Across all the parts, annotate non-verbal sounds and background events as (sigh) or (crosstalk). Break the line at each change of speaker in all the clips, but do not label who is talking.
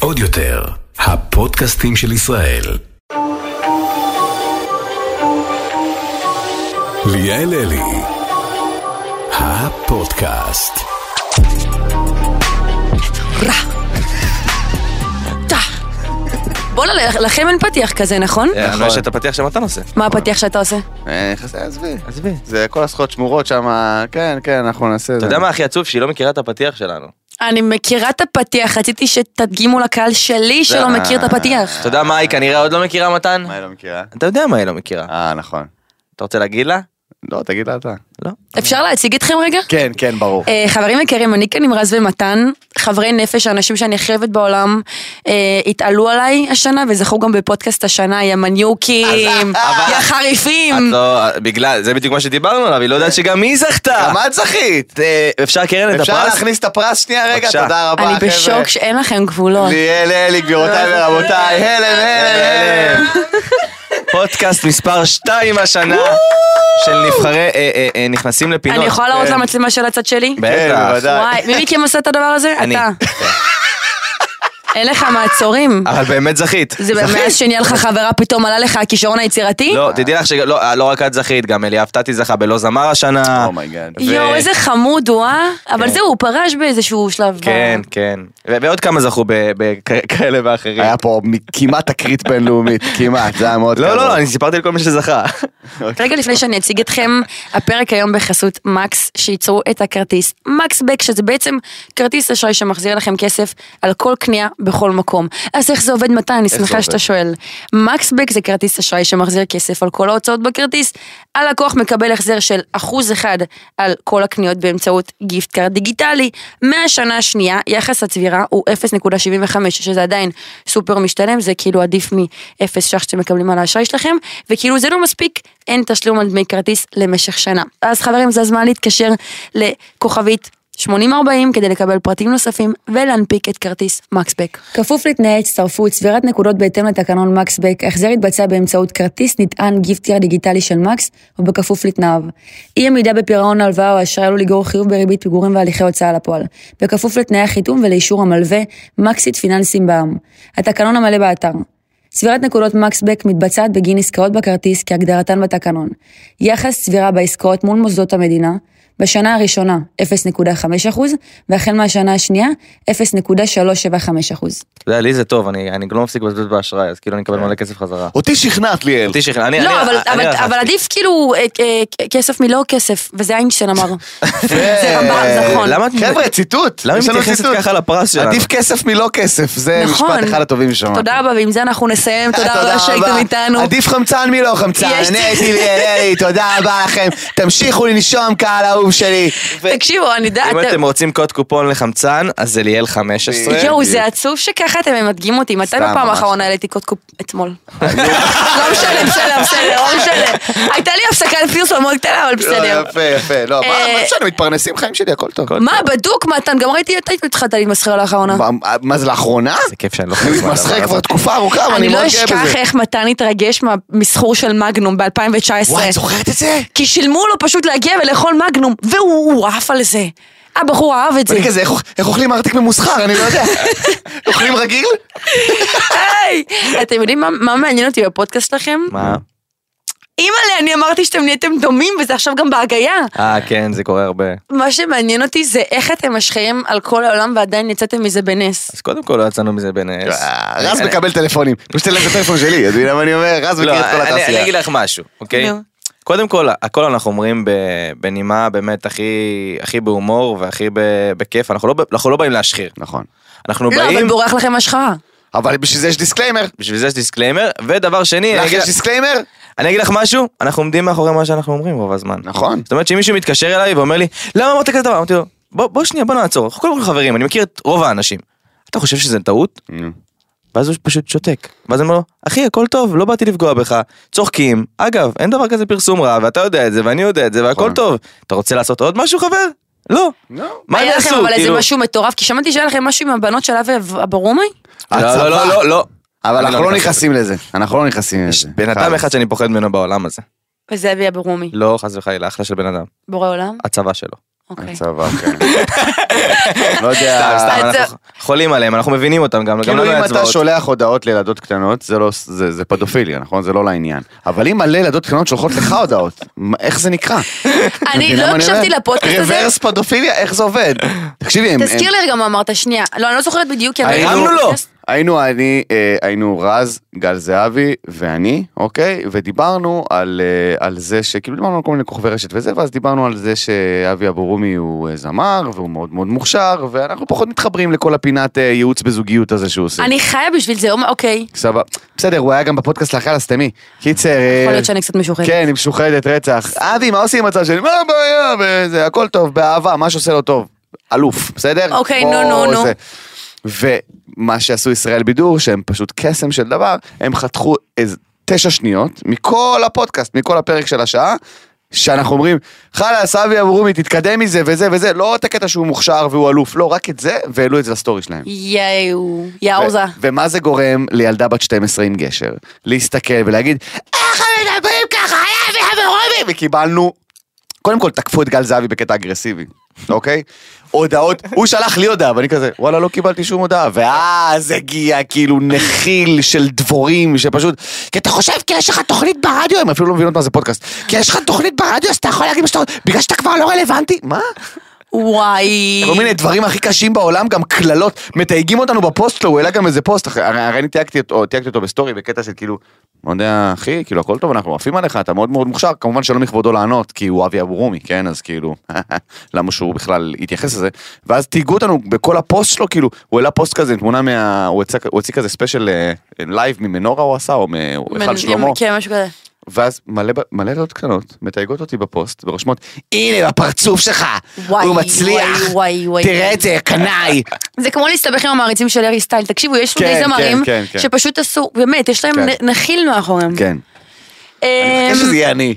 עוד יותר, הפודקאסטים של ישראל. ליאל אלי, הפודקאסט.
בואנה, לכם אין פתיח כזה, נכון?
כן. אה,
נכון. יש את הפתיח שמתן עושה.
מה הפתיח שאתה עושה?
אה, נכנס- עזבי.
עזבי.
זה כל הזכויות שמורות שם, כן, כן, אנחנו נעשה את
אתה
זה.
יודע מה הכי עצוב? שהיא לא מכירה את הפתיח שלנו.
אני מכירה את הפתיח, רציתי שתדגימו לקהל שלי שלא מכיר את הפתיח.
אתה יודע מה היא כנראה עוד לא מכירה, מתן?
מה היא לא מכירה?
אתה יודע מה היא לא מכירה.
אה, נכון.
אתה רוצה להגיד לה?
לא, תגיד לה אתה.
לא.
אפשר להציג אתכם רגע?
כן, כן, ברור.
אה, חברים יקרים, אני כאן עם רז ומתן, חברי נפש, האנשים שאני הכי אוהבת בעולם, אה, התעלו עליי השנה וזכו גם בפודקאסט השנה, יא
(laughs)
מניוקים, יא חריפים.
את לא... בגלל... זה בדיוק מה שדיברנו עליו, היא לא יודעת שגם היא זכתה!
גם את זכית!
אה, אפשר קרן את
אפשר
הפרס?
להכניס את הפרס שנייה רגע?
בבקשה.
תודה רבה,
אני
חבר'ה.
בשוק שאין לכם גבולות.
ליאל אלי, גבירותיי ורבותיי, הלם, הלם, הלם.
(laughs) פודקאסט מספר 2 השנה של נבחרי... אה, אה, אה, נכנסים לפינות.
אני יכולה להראות
כן.
למצלמה של הצד שלי?
כן,
בטח.
בוודאי.
וואי, מי מכם עושה את הדבר הזה?
אני.
אתה. אין לך מעצורים.
אבל באמת זכית.
זה מאז שנהיה לך חברה פתאום עלה לך הכישרון היצירתי?
לא, תדעי לך שלא לא רק את זכית, גם אליה הפתעתי זכה בלא זמר השנה.
אומייגאד.
ו-
יואו, איזה חמוד הוא, אה? אבל זהו, הוא פרש באיזשהו שלב. ב-
כן, כן. ו- ועוד כמה זכו בכאלה ואחרים.
היה פה מ- כמעט תקרית בינלאומית, כמעט, זה היה מאוד
לא,
קרוב.
לא, לא, אני סיפרתי לכל מי שזכה.
רגע לפני שאני אציג אתכם, הפרק היום בחסות מקס, שייצרו את הכרטיס מקסבק, שזה בעצם כרטיס אשראי שמחזיר לכם כסף על כל קנייה בכל מקום. אז איך זה עובד מתן? אני שמחה שאתה שואל. מקסבק זה כרטיס אשראי שמחזיר כסף על כל ההוצאות בכרטיס. הלקוח מקבל החזר של אחוז אחד על כל הקניות באמצעות גיפט קארד דיגיטלי. מהשנה השנייה, יחס הצבירה הוא 0.75, שזה עדיין סופר משתלם, זה כאילו עדיף מ-0 ש"ח שאתם מקבלים על האשראי שלכם, וכאילו זה לא מספיק, אין תשלום על דמי כרטיס למשך שנה. אז חברים, זה הזמן להתקשר לכוכבית 8040 כדי לקבל פרטים נוספים ולהנפיק את כרטיס מקסבק. כפוף לתנאי הצטרפות, צבירת נקודות בהתאם לתקנון מקסבק, ההחזר יתבצע באמצעות כרטיס נטען גיפטייר דיגיטלי של מקס ובכפוף לתנאיו. אי עמידה בפירעון הלוואה או אשראי עלול לגרור חיוב בריבית פיגורים והליכי הוצאה לפועל. בכפוף לתנאי החיתום ולאישור המלווה, מקסית פיננסים בע"מ. התקנון המלא באתר. צבירת נקודות מקסבק מתבצעת בגין עסקאות בכרטיס כהגדרתן בתקנון. יחס צבירה בעסקאות מול מוסדות המדינה, בשנה הראשונה 0.5% והחל מהשנה השנייה 0.375%.
אתה יודע, לי זה טוב, אני אני לא מפסיק לבזבז באשראי, אז כאילו אני אקבל מלא כסף חזרה.
אותי שכנעת, ליאל.
אותי שכנע, אני...
לא,
אני-
אבל-
אני
אבל-
רכשתי.
אבל עדיף כאילו אה, אה, כ- כסף מלא כסף, וזה איינשטיין אמר. זה רבה, נכון.
למה את...
אה, חבר'ה, ציטוט.
למה היא
יש לנו
מתייחסת
ציטוט.
ככה לפרס שלנו?
עדיף כסף מלא כסף, זה
נכון.
משפט אחד הטובים ששמעתי.
תודה רבה, ועם זה אנחנו נסיים, תודה רבה שהייתם
רבה.
איתנו.
עדיף חמצן מלא חמצן,
יש-
אני הייתי ליאלי, תודה רבה לכם. תמשיכו לנשום, קהל אהוב שלי.
תקשיבו, אני יודעת...
אם אתם רוצים קוד קופון לחמצן, אז זה ליאל 15.
יואו, זה עצוב שככה אתם ממדגים אותי. מתי
סתם,
בפעם
ממש. לא.
האחרונה העליתי קוד קופ... אתמול. לא משנה, בסדר, בסדר, לא משנה. הייתה לי הפסקת פרסום מאוד קטנה, אבל בסדר.
יפה, יפה, לא, מה,
אה,
מה שאנו מתפרנסים חיים שלי, הכל טוב.
מה, בדוק, מתן? גם ראיתי אתה התחלת להתמסחר לאחרונה.
מה- מה זה לאחרונה?
זה כיף שאני לא
אני
חלק מהדבר
מתמסחר
הזה.
כבר תקופה ארוכה, אבל אני
אני לא
מאוד גאה בזה.
אשכח איך מתן התרגש מהמסחור של מגנום ב-2019.
וואי, את זוכרת את זה?
כי שילמו לו פשוט להגיע ולאכול מגנום, והוא הוא עף על זה. הבחור אהב את זה.
ואני כזה, איך איך אוכלים ארטיק ממוסחר? אני לא
(laughs)
יודע. אוכלים רגיל?
היי! אתם יודעים מה- מה מעניין אותי בפודקאסט שלכם?
מה?
אימא'לה, אני אמרתי שאתם נהייתם דומים, וזה עכשיו גם בהגייה.
אה, כן, זה קורה הרבה.
מה שמעניין אותי זה איך אתם משחירים על כל העולם ועדיין יצאתם מזה בנס.
אז קודם כל לא יצאנו מזה בנס.
אה, רז מקבל טלפונים. פשוט תן להם את הטלפון שלי, את מבינה מה אני אומר? רז מכיר
לא,
את כל
אני- אני
התעשייה.
אגיד לך משהו, אוקיי?
נו.
קודם כל, הכל אנחנו אומרים ב- בנימה באמת הכי הכי בהומור והכי ב- בכיף, אנחנו לא ב- אנחנו לא באים להשחיר.
נכון.
אנחנו
לא, אבל
באים,
בורח לכם השחרה.
אבל בשביל זה יש דיסקליימר.
בשביל זה יש דיסקליימר, ודבר שני, אני
לך
אגיד-
יש דיסקליימר?
אני אגיד לך משהו, אנחנו עומדים מאחורי מה שאנחנו אומרים רוב הזמן.
נכון.
זאת אומרת שאם מישהו מתקשר אליי ואומר לי, למה אמרת כזה דבר? אמרתי לו, בוא בוא שנייה, בוא נעצור, אנחנו קודם כל חברים, אני מכיר את רוב האנשים. אתה חושב שזה טעות? ואז הוא פשוט שותק. ואז אני אומר לו, אחי, הכל טוב, לא באתי לפגוע בך, צוחקים. אגב, אין דבר כזה פרסום רע, ואתה יודע את זה, ואני יודע את זה, והכל
נכון.
טוב. אתה רוצה לעשות עוד משהו, חבר? לא.
לא.
מה הם
היה לכם
יעשו?
אבל איזה
כאילו-
משהו מטורף, כי שמעתי שהיה לכם משהו עם הבנות של אבי אברומי?
לא, לא, לא, לא, לא.
אבל
אני
אנחנו לא
נכנס
נכנסים לזה, אנחנו לא נכנסים לזה.
לזה. בן אדם אחד שאני פוחד ממנו בעולם הזה.
וזה אבי אברומי.
לא, חס וחלילה, אחלה של בן אדם.
בורא עולם?
הצבא שלו.
אוקיי.
הצבא,
(laughs)
כן. לא
סתם,
יודע,
סתם,
אה, אז-
אנחנו חולים עליהם, אנחנו מבינים אותם גם, לא גם
כאילו
לנו
אם
אין
אתה
הצבעות.
שולח הודעות לילדות קטנות, זה לא, זה זה פדופיליה, נכון? זה לא לעניין. אבל אם מלא ילדות קטנות שולחות לך הודעות, מה- איך זה נקרא?
אני לא הקשבתי לפודקאסט הזה.
ריברס פדופיליה, איך זה עובד? תקשיבי, הם- הם-
תזכיר לי רגע מה אמרת, שנייה. לא, אני לא זוכרת בדיוק, כי
היינו-
הרמנו לו.
היינו אני, אה, היינו רז, גל זהבי ואני, אוקיי? ודיברנו על, אה, על זה שכאילו דיברנו על כל מיני כוכבי רשת וזה, ואז דיברנו על זה שאבי אבורומי הוא אה, זמר והוא מאוד מאוד מוכשר, ואנחנו פחות מתחברים לכל הפינת אה, ייעוץ בזוגיות הזה שהוא עושה.
אני חיה בשביל זה, אוקיי.
סבבה. בסדר, הוא היה גם בפודקאסט לאחר הסתמי. קיצר... אה,
יכול להיות שאני קצת משוחדת.
כן, היא משוחדת רצח. אבי, מה עושים עם הצד שלי? מה הבעיה? וזה, הכל טוב, באהבה, מה שעושה לו טוב. אלוף, בסדר?
אוקיי,
בוא,
נו, נו, נו.
זה. ומה שעשו ישראל בידור, שהם פשוט קסם של דבר, הם חתכו איזה תשע שניות מכל הפודקאסט, מכל הפרק של השעה. שאנחנו אומרים, חלאס, אבי אברומי, תתקדם מזה וזה וזה, לא את הקטע שהוא מוכשר והוא אלוף, לא, רק את זה, והעלו את זה לסטורי שלהם.
יאו,
ו-
יאוזה.
ומה זה גורם לילדה בת 12 עם גשר? להסתכל ולהגיד, איך הם מדברים ככה, היה אבי חברובי! וקיבלנו, קודם כל תקפו את גל זהבי בקטע אגרסיבי, אוקיי? הודעות, הוא שלח לי הודעה, ואני כזה, וואלה, לא קיבלתי שום הודעה. ואז הגיע כאילו נחיל של דבורים, שפשוט, כי אתה חושב, כי יש לך תוכנית ברדיו, הם אפילו לא מבינות מה זה פודקאסט, כי יש לך תוכנית ברדיו, אז אתה יכול להגיד מה שאתה רוצה, בגלל שאתה כבר לא רלוונטי? מה?
וואי.
כל מיני דברים הכי קשים בעולם, גם קללות, מתייגים אותנו בפוסט שלו, הוא העלה גם איזה פוסט, אחרי- הרי הרי אני תייגתי אותו, תייגתי אותו בסטורי בקטע של כאילו, לא יודע, אחי, כאילו הכל טוב, אנחנו עפים עליך, אתה מאוד מאוד מוכשר, כמובן שלא מכבודו לענות, כי הוא אבי אבורומי, כן, אז כאילו, (laughs) למה שהוא בכלל התייחס לזה, ואז תייגו אותנו בכל הפוסט שלו, כאילו, הוא העלה פוסט כזה, עם תמונה מה... הוא הוציא- הוא הוציא כזה ספיישל אה, לייב ממנורה הוא עשה, או מהיכל
מנ-
שלמה.
כן, משהו כזה.
ואז מלא, ב- מלא ילדות קטנות מתייגות אותי בפוסט ורושמות, הנה בפרצוף שלך,
וואי,
הוא מצליח,
וואי, וואי, וואי.
תראה את זה, קנאי.
(laughs) זה כמו להסתבך עם המעריצים של ארי סטייל. תקשיבו, יש
כן,
שני
כן,
זמרים
כן, כן.
שפשוט עשו, באמת, יש להם
כן.
נ- נחיל מאחוריהם.
כן. אני
אמ,
מחכה שזה יהיה אני.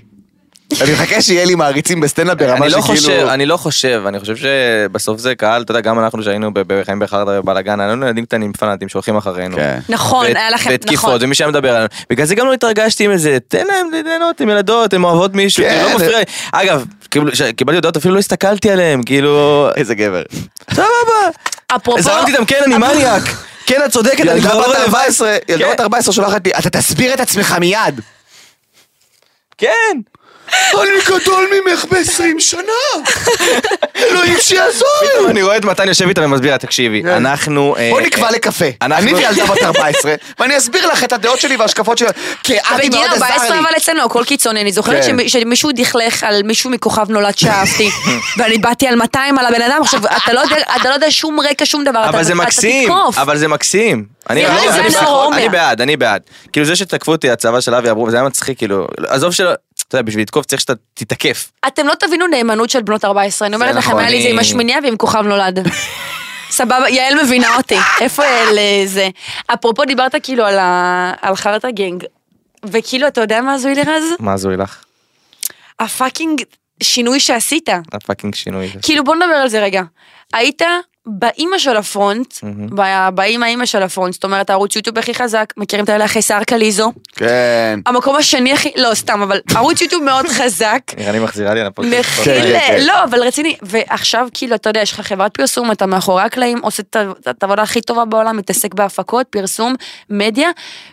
אני מחכה שיהיה לי מעריצים בסטנדאפ ברמה
אני לא חושב,
שכאילו...
אני לא חושב, אני חושב שבסוף זה קהל, אתה יודע, גם אנחנו שהיינו ב- ב- בחיים בחרדה ובלאגן, היינו ילדים קטנים פנאטים שהולכים אחרינו.
כן.
נכון,
ואת-
היה לכם, נכון.
ותקיפות, ומי שהיה מדבר עלינו. בגלל זה גם לא התרגשתי עם איזה, תן להם ליהנות, הם ילדות, הם אוהבות מישהו,
כן.
כאילו, לא מפריע לי. אגב, כאילו, קיבלתי הודעות, אפילו לא הסתכלתי עליהם, כאילו,
איזה
(laughs)
גבר.
סבבה.
אפרופו-
זרמתי איתם, כן, אני
אפרופו-
מניאק. כן, את צודקת, אני
ילדה
כבר
בת
לא רלוונטי.
14, ילדה
כן.
בת 14 שולחת לי, אתה תסביר את עצמך
(laughs)
מיד.
כן.
אני גדול ממך ב-20 שנה. אלוהים שיעזור כן.
פתאום אני רואה את מתן יושב איתם ומסביר לה, תקשיבי, אנחנו... אה,
(laughs) בוא נקבע לקפה.
אנחנו-
אני וילדה בת 14, ואני אסביר לך את הדעות שלי וההשקפות שלי, כי אבי
בגיל
מאוד עזר
14
לי.
אבל אצלנו הכל קיצוני, אני זוכרת
כן.
שמי- שמישהו דכלך על מישהו מכוכב נולד
(laughs)
שאהבתי, ואני באתי על 200 על הבן אדם, עכשיו אתה לא יודע- אתה לא יודע שום רקע, שום דבר, אתה
אבל זה
אתה
מקסים,
תתקוף.
אבל זה מקסים. אני
זה
אני-
לא, זה
אני
היה
בעד,
נורא
אני
אומר.
בעד, אני בעד. כאילו זה שתקפו אותי, הצבא של אבי אברום, זה היה מצחיק, כאילו, עזוב שלא, אתה יודע, בשביל לתקוף צריך שאתה תתקף.
אתם לא תבינו נאמנות של בנות 14, אני אומרת לכם,
נכון,
היה לי את זה
אני-
עם השמיניה ועם כוכב נולד.
(laughs)
סבבה, יעל מבינה אותי, איפה יעל אה, זה? אפרופו דיברת כאילו על ה- על חרטה גנג, וכאילו אתה יודע מה הזוי לירז?
מה הזוי לך?
הפאקינג שינוי שעשית.
הפאקינג שינוי הזה.
כאילו בוא נדבר על זה רגע. היית באימא של הפרונט, ב- באימא אימא של הפרונט, זאת אומרת הערוץ יוטיוב הכי חזק, מכירים את האלה אחרי שיער קליזו,
כן.
המקום השני הכי, לא סתם, אבל ערוץ יוטיוב מאוד חזק.
נראה לי מחזירה לי על הפודקאסט. אוקיי.
כן,
מכיל,
כן, כן.
לא, אבל רציני, ועכשיו כאילו, אתה יודע, יש לך חברת פרסום, אתה מאחורי הקלעים, עושה את ה- את העבודה הכי טובה בעולם, מתעסק בהפקות, פרסום, מדיה,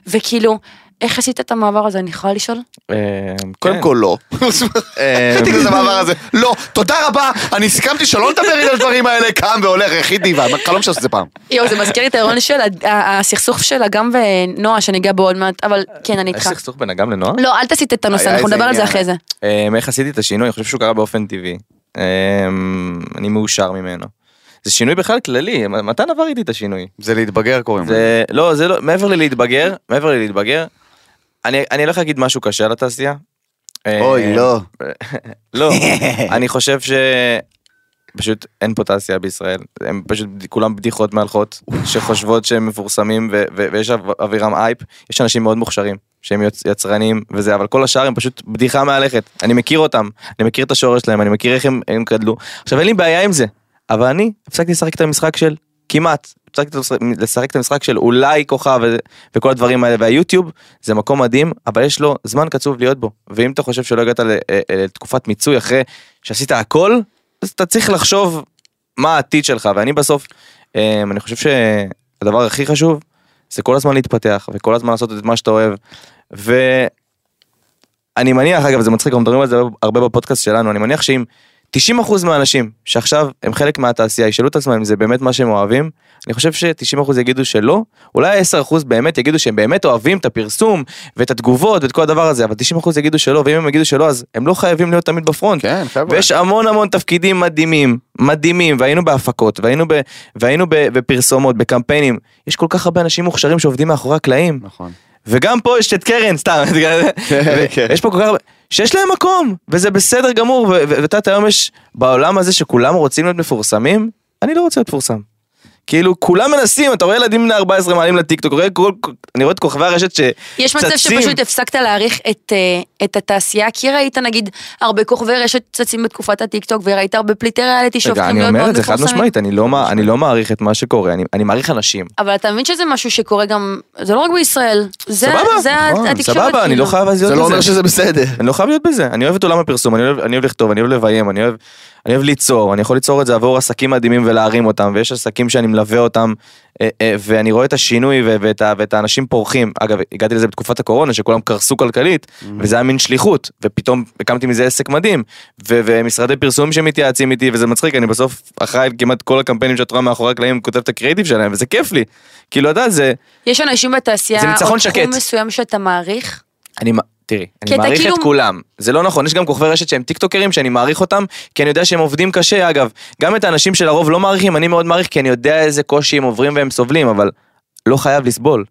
וכאילו, איך עשית את המעבר הזה, אני יכולה לשאול?
אה,
קודם
כן.
כל (laughs) לא. ראיתי את המעבר הזה. לא, תודה רבה, אני סיכמתי שלא נדבר איתי על הדברים האלה, קם והולך, הכי דיבה, חלום שעשו את זה פעם.
יואו, זה מזכיר לי את האירון של הד- ה- הסכסוך של אגם ונועה, שניגע בו עוד מעט, אבל כן, אני
יש
איתך.
סכסוך בין אגם לנוער?
לא, אל תסיט את הנושא,
היה
אנחנו
איזה
נדבר על זה
עניין.
אחרי זה.
אה, איך עשיתי את השינוי? אני חושב שהוא קרה באופן טבעי. אה, אני מאושר ממנו. זה שינוי בכלל כללי, מתן עבר איתי את השינוי.
זה להתבגר קוראים לזה.
זה לא זה לא מעבר ללהתבגר מעבר ללהתבגר. אני אני הולך להגיד משהו קשה על התעשייה. אה,
אוי, לא.
לא אני חושב ש... פשוט אין פה תעשייה בישראל הם פשוט כולם בדיחות מהלכות שחושבות שהם מפורסמים ו- ו- ויש אב- אווירם אייפ יש אנשים מאוד מוכשרים שהם יוצ- יצרנים וזה אבל כל השאר הם פשוט בדיחה מהלכת אני מכיר אותם אני מכיר את השורש שלהם אני מכיר איך הם, הם גדלו עכשיו אין לי בעיה עם זה אבל אני הפסקתי לשחק את המשחק של כמעט הפסקתי לשחק את המשחק של אולי כוכב ו- וכל הדברים האלה והיוטיוב זה מקום מדהים אבל יש לו זמן קצוב להיות בו ואם אתה חושב שלא הגעת ל- אה, אה, לתקופת מיצוי אחרי שעשית הכל אז אתה צריך לחשוב מה העתיד שלך, ואני בסוף, אה, אני חושב שהדבר הכי חשוב, זה כל הזמן להתפתח, וכל הזמן לעשות את מה שאתה אוהב. ואני מניח, אגב, זה מצחיק, אנחנו מדברים על זה הרבה בפודקאסט שלנו, אני מניח שאם 90% מהאנשים שעכשיו הם חלק מהתעשייה, ישאלו את עצמם אם זה באמת מה שהם אוהבים, אני חושב ש-90% יגידו שלא, אולי 10% באמת יגידו שהם באמת אוהבים את הפרסום ואת התגובות ואת כל הדבר הזה, אבל 90% יגידו שלא, ואם הם יגידו שלא, אז הם לא חייבים להיות תמיד בפרונט.
כן, חבר'ה.
ויש המון המון תפקידים מדהימים, מדהימים, והיינו בהפקות, והיינו, ב, והיינו ב, בפרסומות, בקמפיינים. יש כל כך הרבה אנשים מוכשרים שעובדים מאחורי הקלעים.
נכון.
וגם פה יש את קרן, (laughs) סתם, ו-
כן.
יש פה כל כך הרבה, שיש להם מקום, וזה בסדר גמור, ו- ו- ואת יודעת היום יש, בעולם הזה שכולם רוצים להיות מפורסמים, אני לא רוצה להיות מפורסם. כאילו כולם מנסים, אתה רואה ילדים בני 14 מעלים לטיקטוק, רואה כל- אני רואה את כוכבי הרשת שצצים.
יש מצב שפשוט הפסקת להעריך את, אה, את התעשייה, כי ראית נגיד הרבה כוכבי רשת צצים בתקופת הטיקטוק, וראית הרבה פליטי ריאליטי
רגע,
שהופכים
אני
להיות
אומר את
מאוד
זה חד
מפורסמים.
משמעית, אני לא מע- אני לא מעריך את מה שקורה, אני- אני מעריך אנשים.
אבל אתה מבין שזה משהו שקורה גם, זה לא רק בישראל, זה,
סבבה,
זה
נכון,
התקשורת.
סבבה, אני
כאילו.
לא חייב אז להיות
זה לא
בזה.
אומר שזה בסדר.
אני לא חייב להיות בזה, אני אוהב את עולם הפרסום, אני אוהב, אני אוהב לכתוב, אני אוהב לביים, אני אוהב, אני אוהב ליצור, אני יכול ליצור את זה עבור עסקים מדהימים ולהרים אותם, ויש עסקים שאני מלווה אותם, אה, אה, ואני רואה את השינוי ו- ואת, ה- ואת האנשים פורחים. אגב, הגעתי לזה בתקופת הקורונה, שכולם קרסו כלכלית,
Mm-hmm.
וזה היה מין שליחות, ופתאום הקמתי מזה עסק מדהים, ו- ומשרדי פרסום שמתייעצים איתי, וזה מצחיק, אני בסוף אחראי על כמעט כל הקמפיינים שאת רואה מאחורי הקלעים, כותב את הקריאיטיב שלהם, וזה כיף לי. כאילו, אתה יודע, זה,
יש אנשים בתעשייה,
זה ניצחון
או תחום
שקט.
מסוים שאתה מעריך,
אני, מע- תראי,
כי
אני
אתה
מעריך
כאילו-
את כולם, זה לא נכון, יש גם כוכבי רשת שהם טיקטוקרים שאני מעריך אותם, כי אני יודע שהם עובדים קשה, אגב, גם את האנשים שלרוב לא מעריכים, אני מאוד מעריך, כי אני יודע איזה קושי הם עוברים והם סובלים, אבל לא חייב לסבול.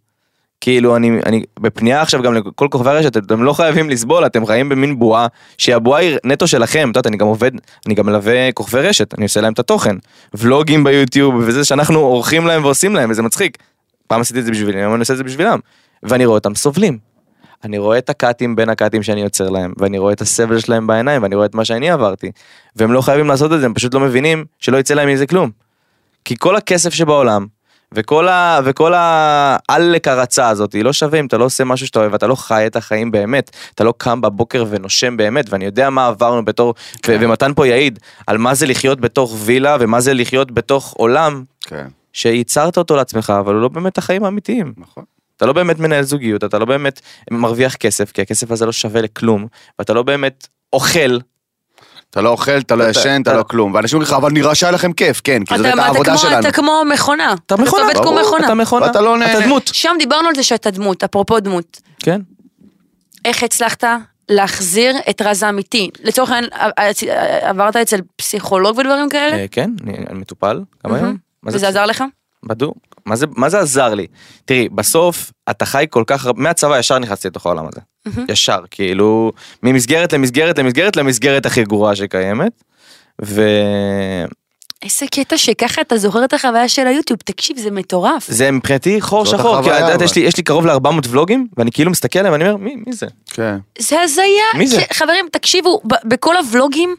כאילו, אני, אני בפנייה עכשיו גם לכל כוכבי הרשת, אתם לא חייבים לסבול, אתם חיים במין בועה, שהבועה היא נטו שלכם, את יודעת, אני גם עובד, אני גם מלווה כוכבי רשת, אני עושה להם את התוכן, ולוגים ביוטיוב, וזה שאנחנו עורכים להם ועושים להם, וזה מצחיק. פעם עשיתי את זה בשבילי, היום אני עושה את זה בשבילם. ואני רואה אותם סובלים. אני רואה את הקאטים בין הקאטים שאני יוצר להם, ואני רואה את הסבל שלהם בעיניים, ואני רואה את מה שאני עברתי. והם לא חייבים לעשות את זה, הם פשוט לא מבינים שלא יצא להם מזה כלום. כי כל הכסף שבעולם, וכל ה... וכל העלק הרצה הזאת, היא לא שווה אם אתה לא עושה משהו שאתה אוהב, אתה לא חי את החיים באמת, אתה לא קם בבוקר ונושם באמת, ואני יודע מה עברנו בתור, ו- ומתן פה יעיד, על מה זה לחיות בתוך וילה, ומה זה לחיות בתוך עולם
כן,
שייצרת אותו לעצמך, אבל הוא לא באמת החיים האמיתיים.
נכון.
אתה לא באמת מנהל זוגיות, אתה לא באמת מרוויח כסף, כי הכסף הזה לא שווה לכלום, ואתה לא באמת אוכל.
אתה לא אוכל, אתה לא
אתה-
ישן, אתה
אתה-
לא כלום. ואנשים אומרים לך, אבל נראה שהיה לכם כיף, כן, כי
אתה,
זאת
אתה,
הייתה העבודה
כמו,
שלנו.
אתה כמו מכונה,
אתה
אתה
מכונה,
עובד כמו
ברור,
מכונה.
אתה מכונה,
ואתה לא
אתה
נהנה.
דמות.
שם דיברנו על זה שאתה דמות, אפרופו דמות.
כן.
איך הצלחת להחזיר את רז האמיתי? לצורך העניין, עברת אצל פסיכולוג ודברים כאלה?
אה, כן, אני אני מטופל גם היום. מה
וזה עזר לך?
בדוק. מה זה, מה זה עזר לי? תראי, בסוף אתה חי כל כך הרבה, מהצבא ישר נכנסתי לתוך העולם הזה. ישר, כאילו, ממסגרת למסגרת למסגרת למסגרת הכי גרועה שקיימת. ו...
איזה קטע שככה אתה זוכר את החוויה של היוטיוב, תקשיב, זה מטורף.
זה מבחינתי חור
זאת
שחור, כי
החוויה,
את יודעת,
אבל.
יש לי- יש לי קרוב ל-400 ולוגים, ואני כאילו מסתכל עליהם ואני אומר, מי מי זה?
כן.
זה הזיה.
מי זה?
כי- חברים, תקשיבו, ב- בכל הוולוגים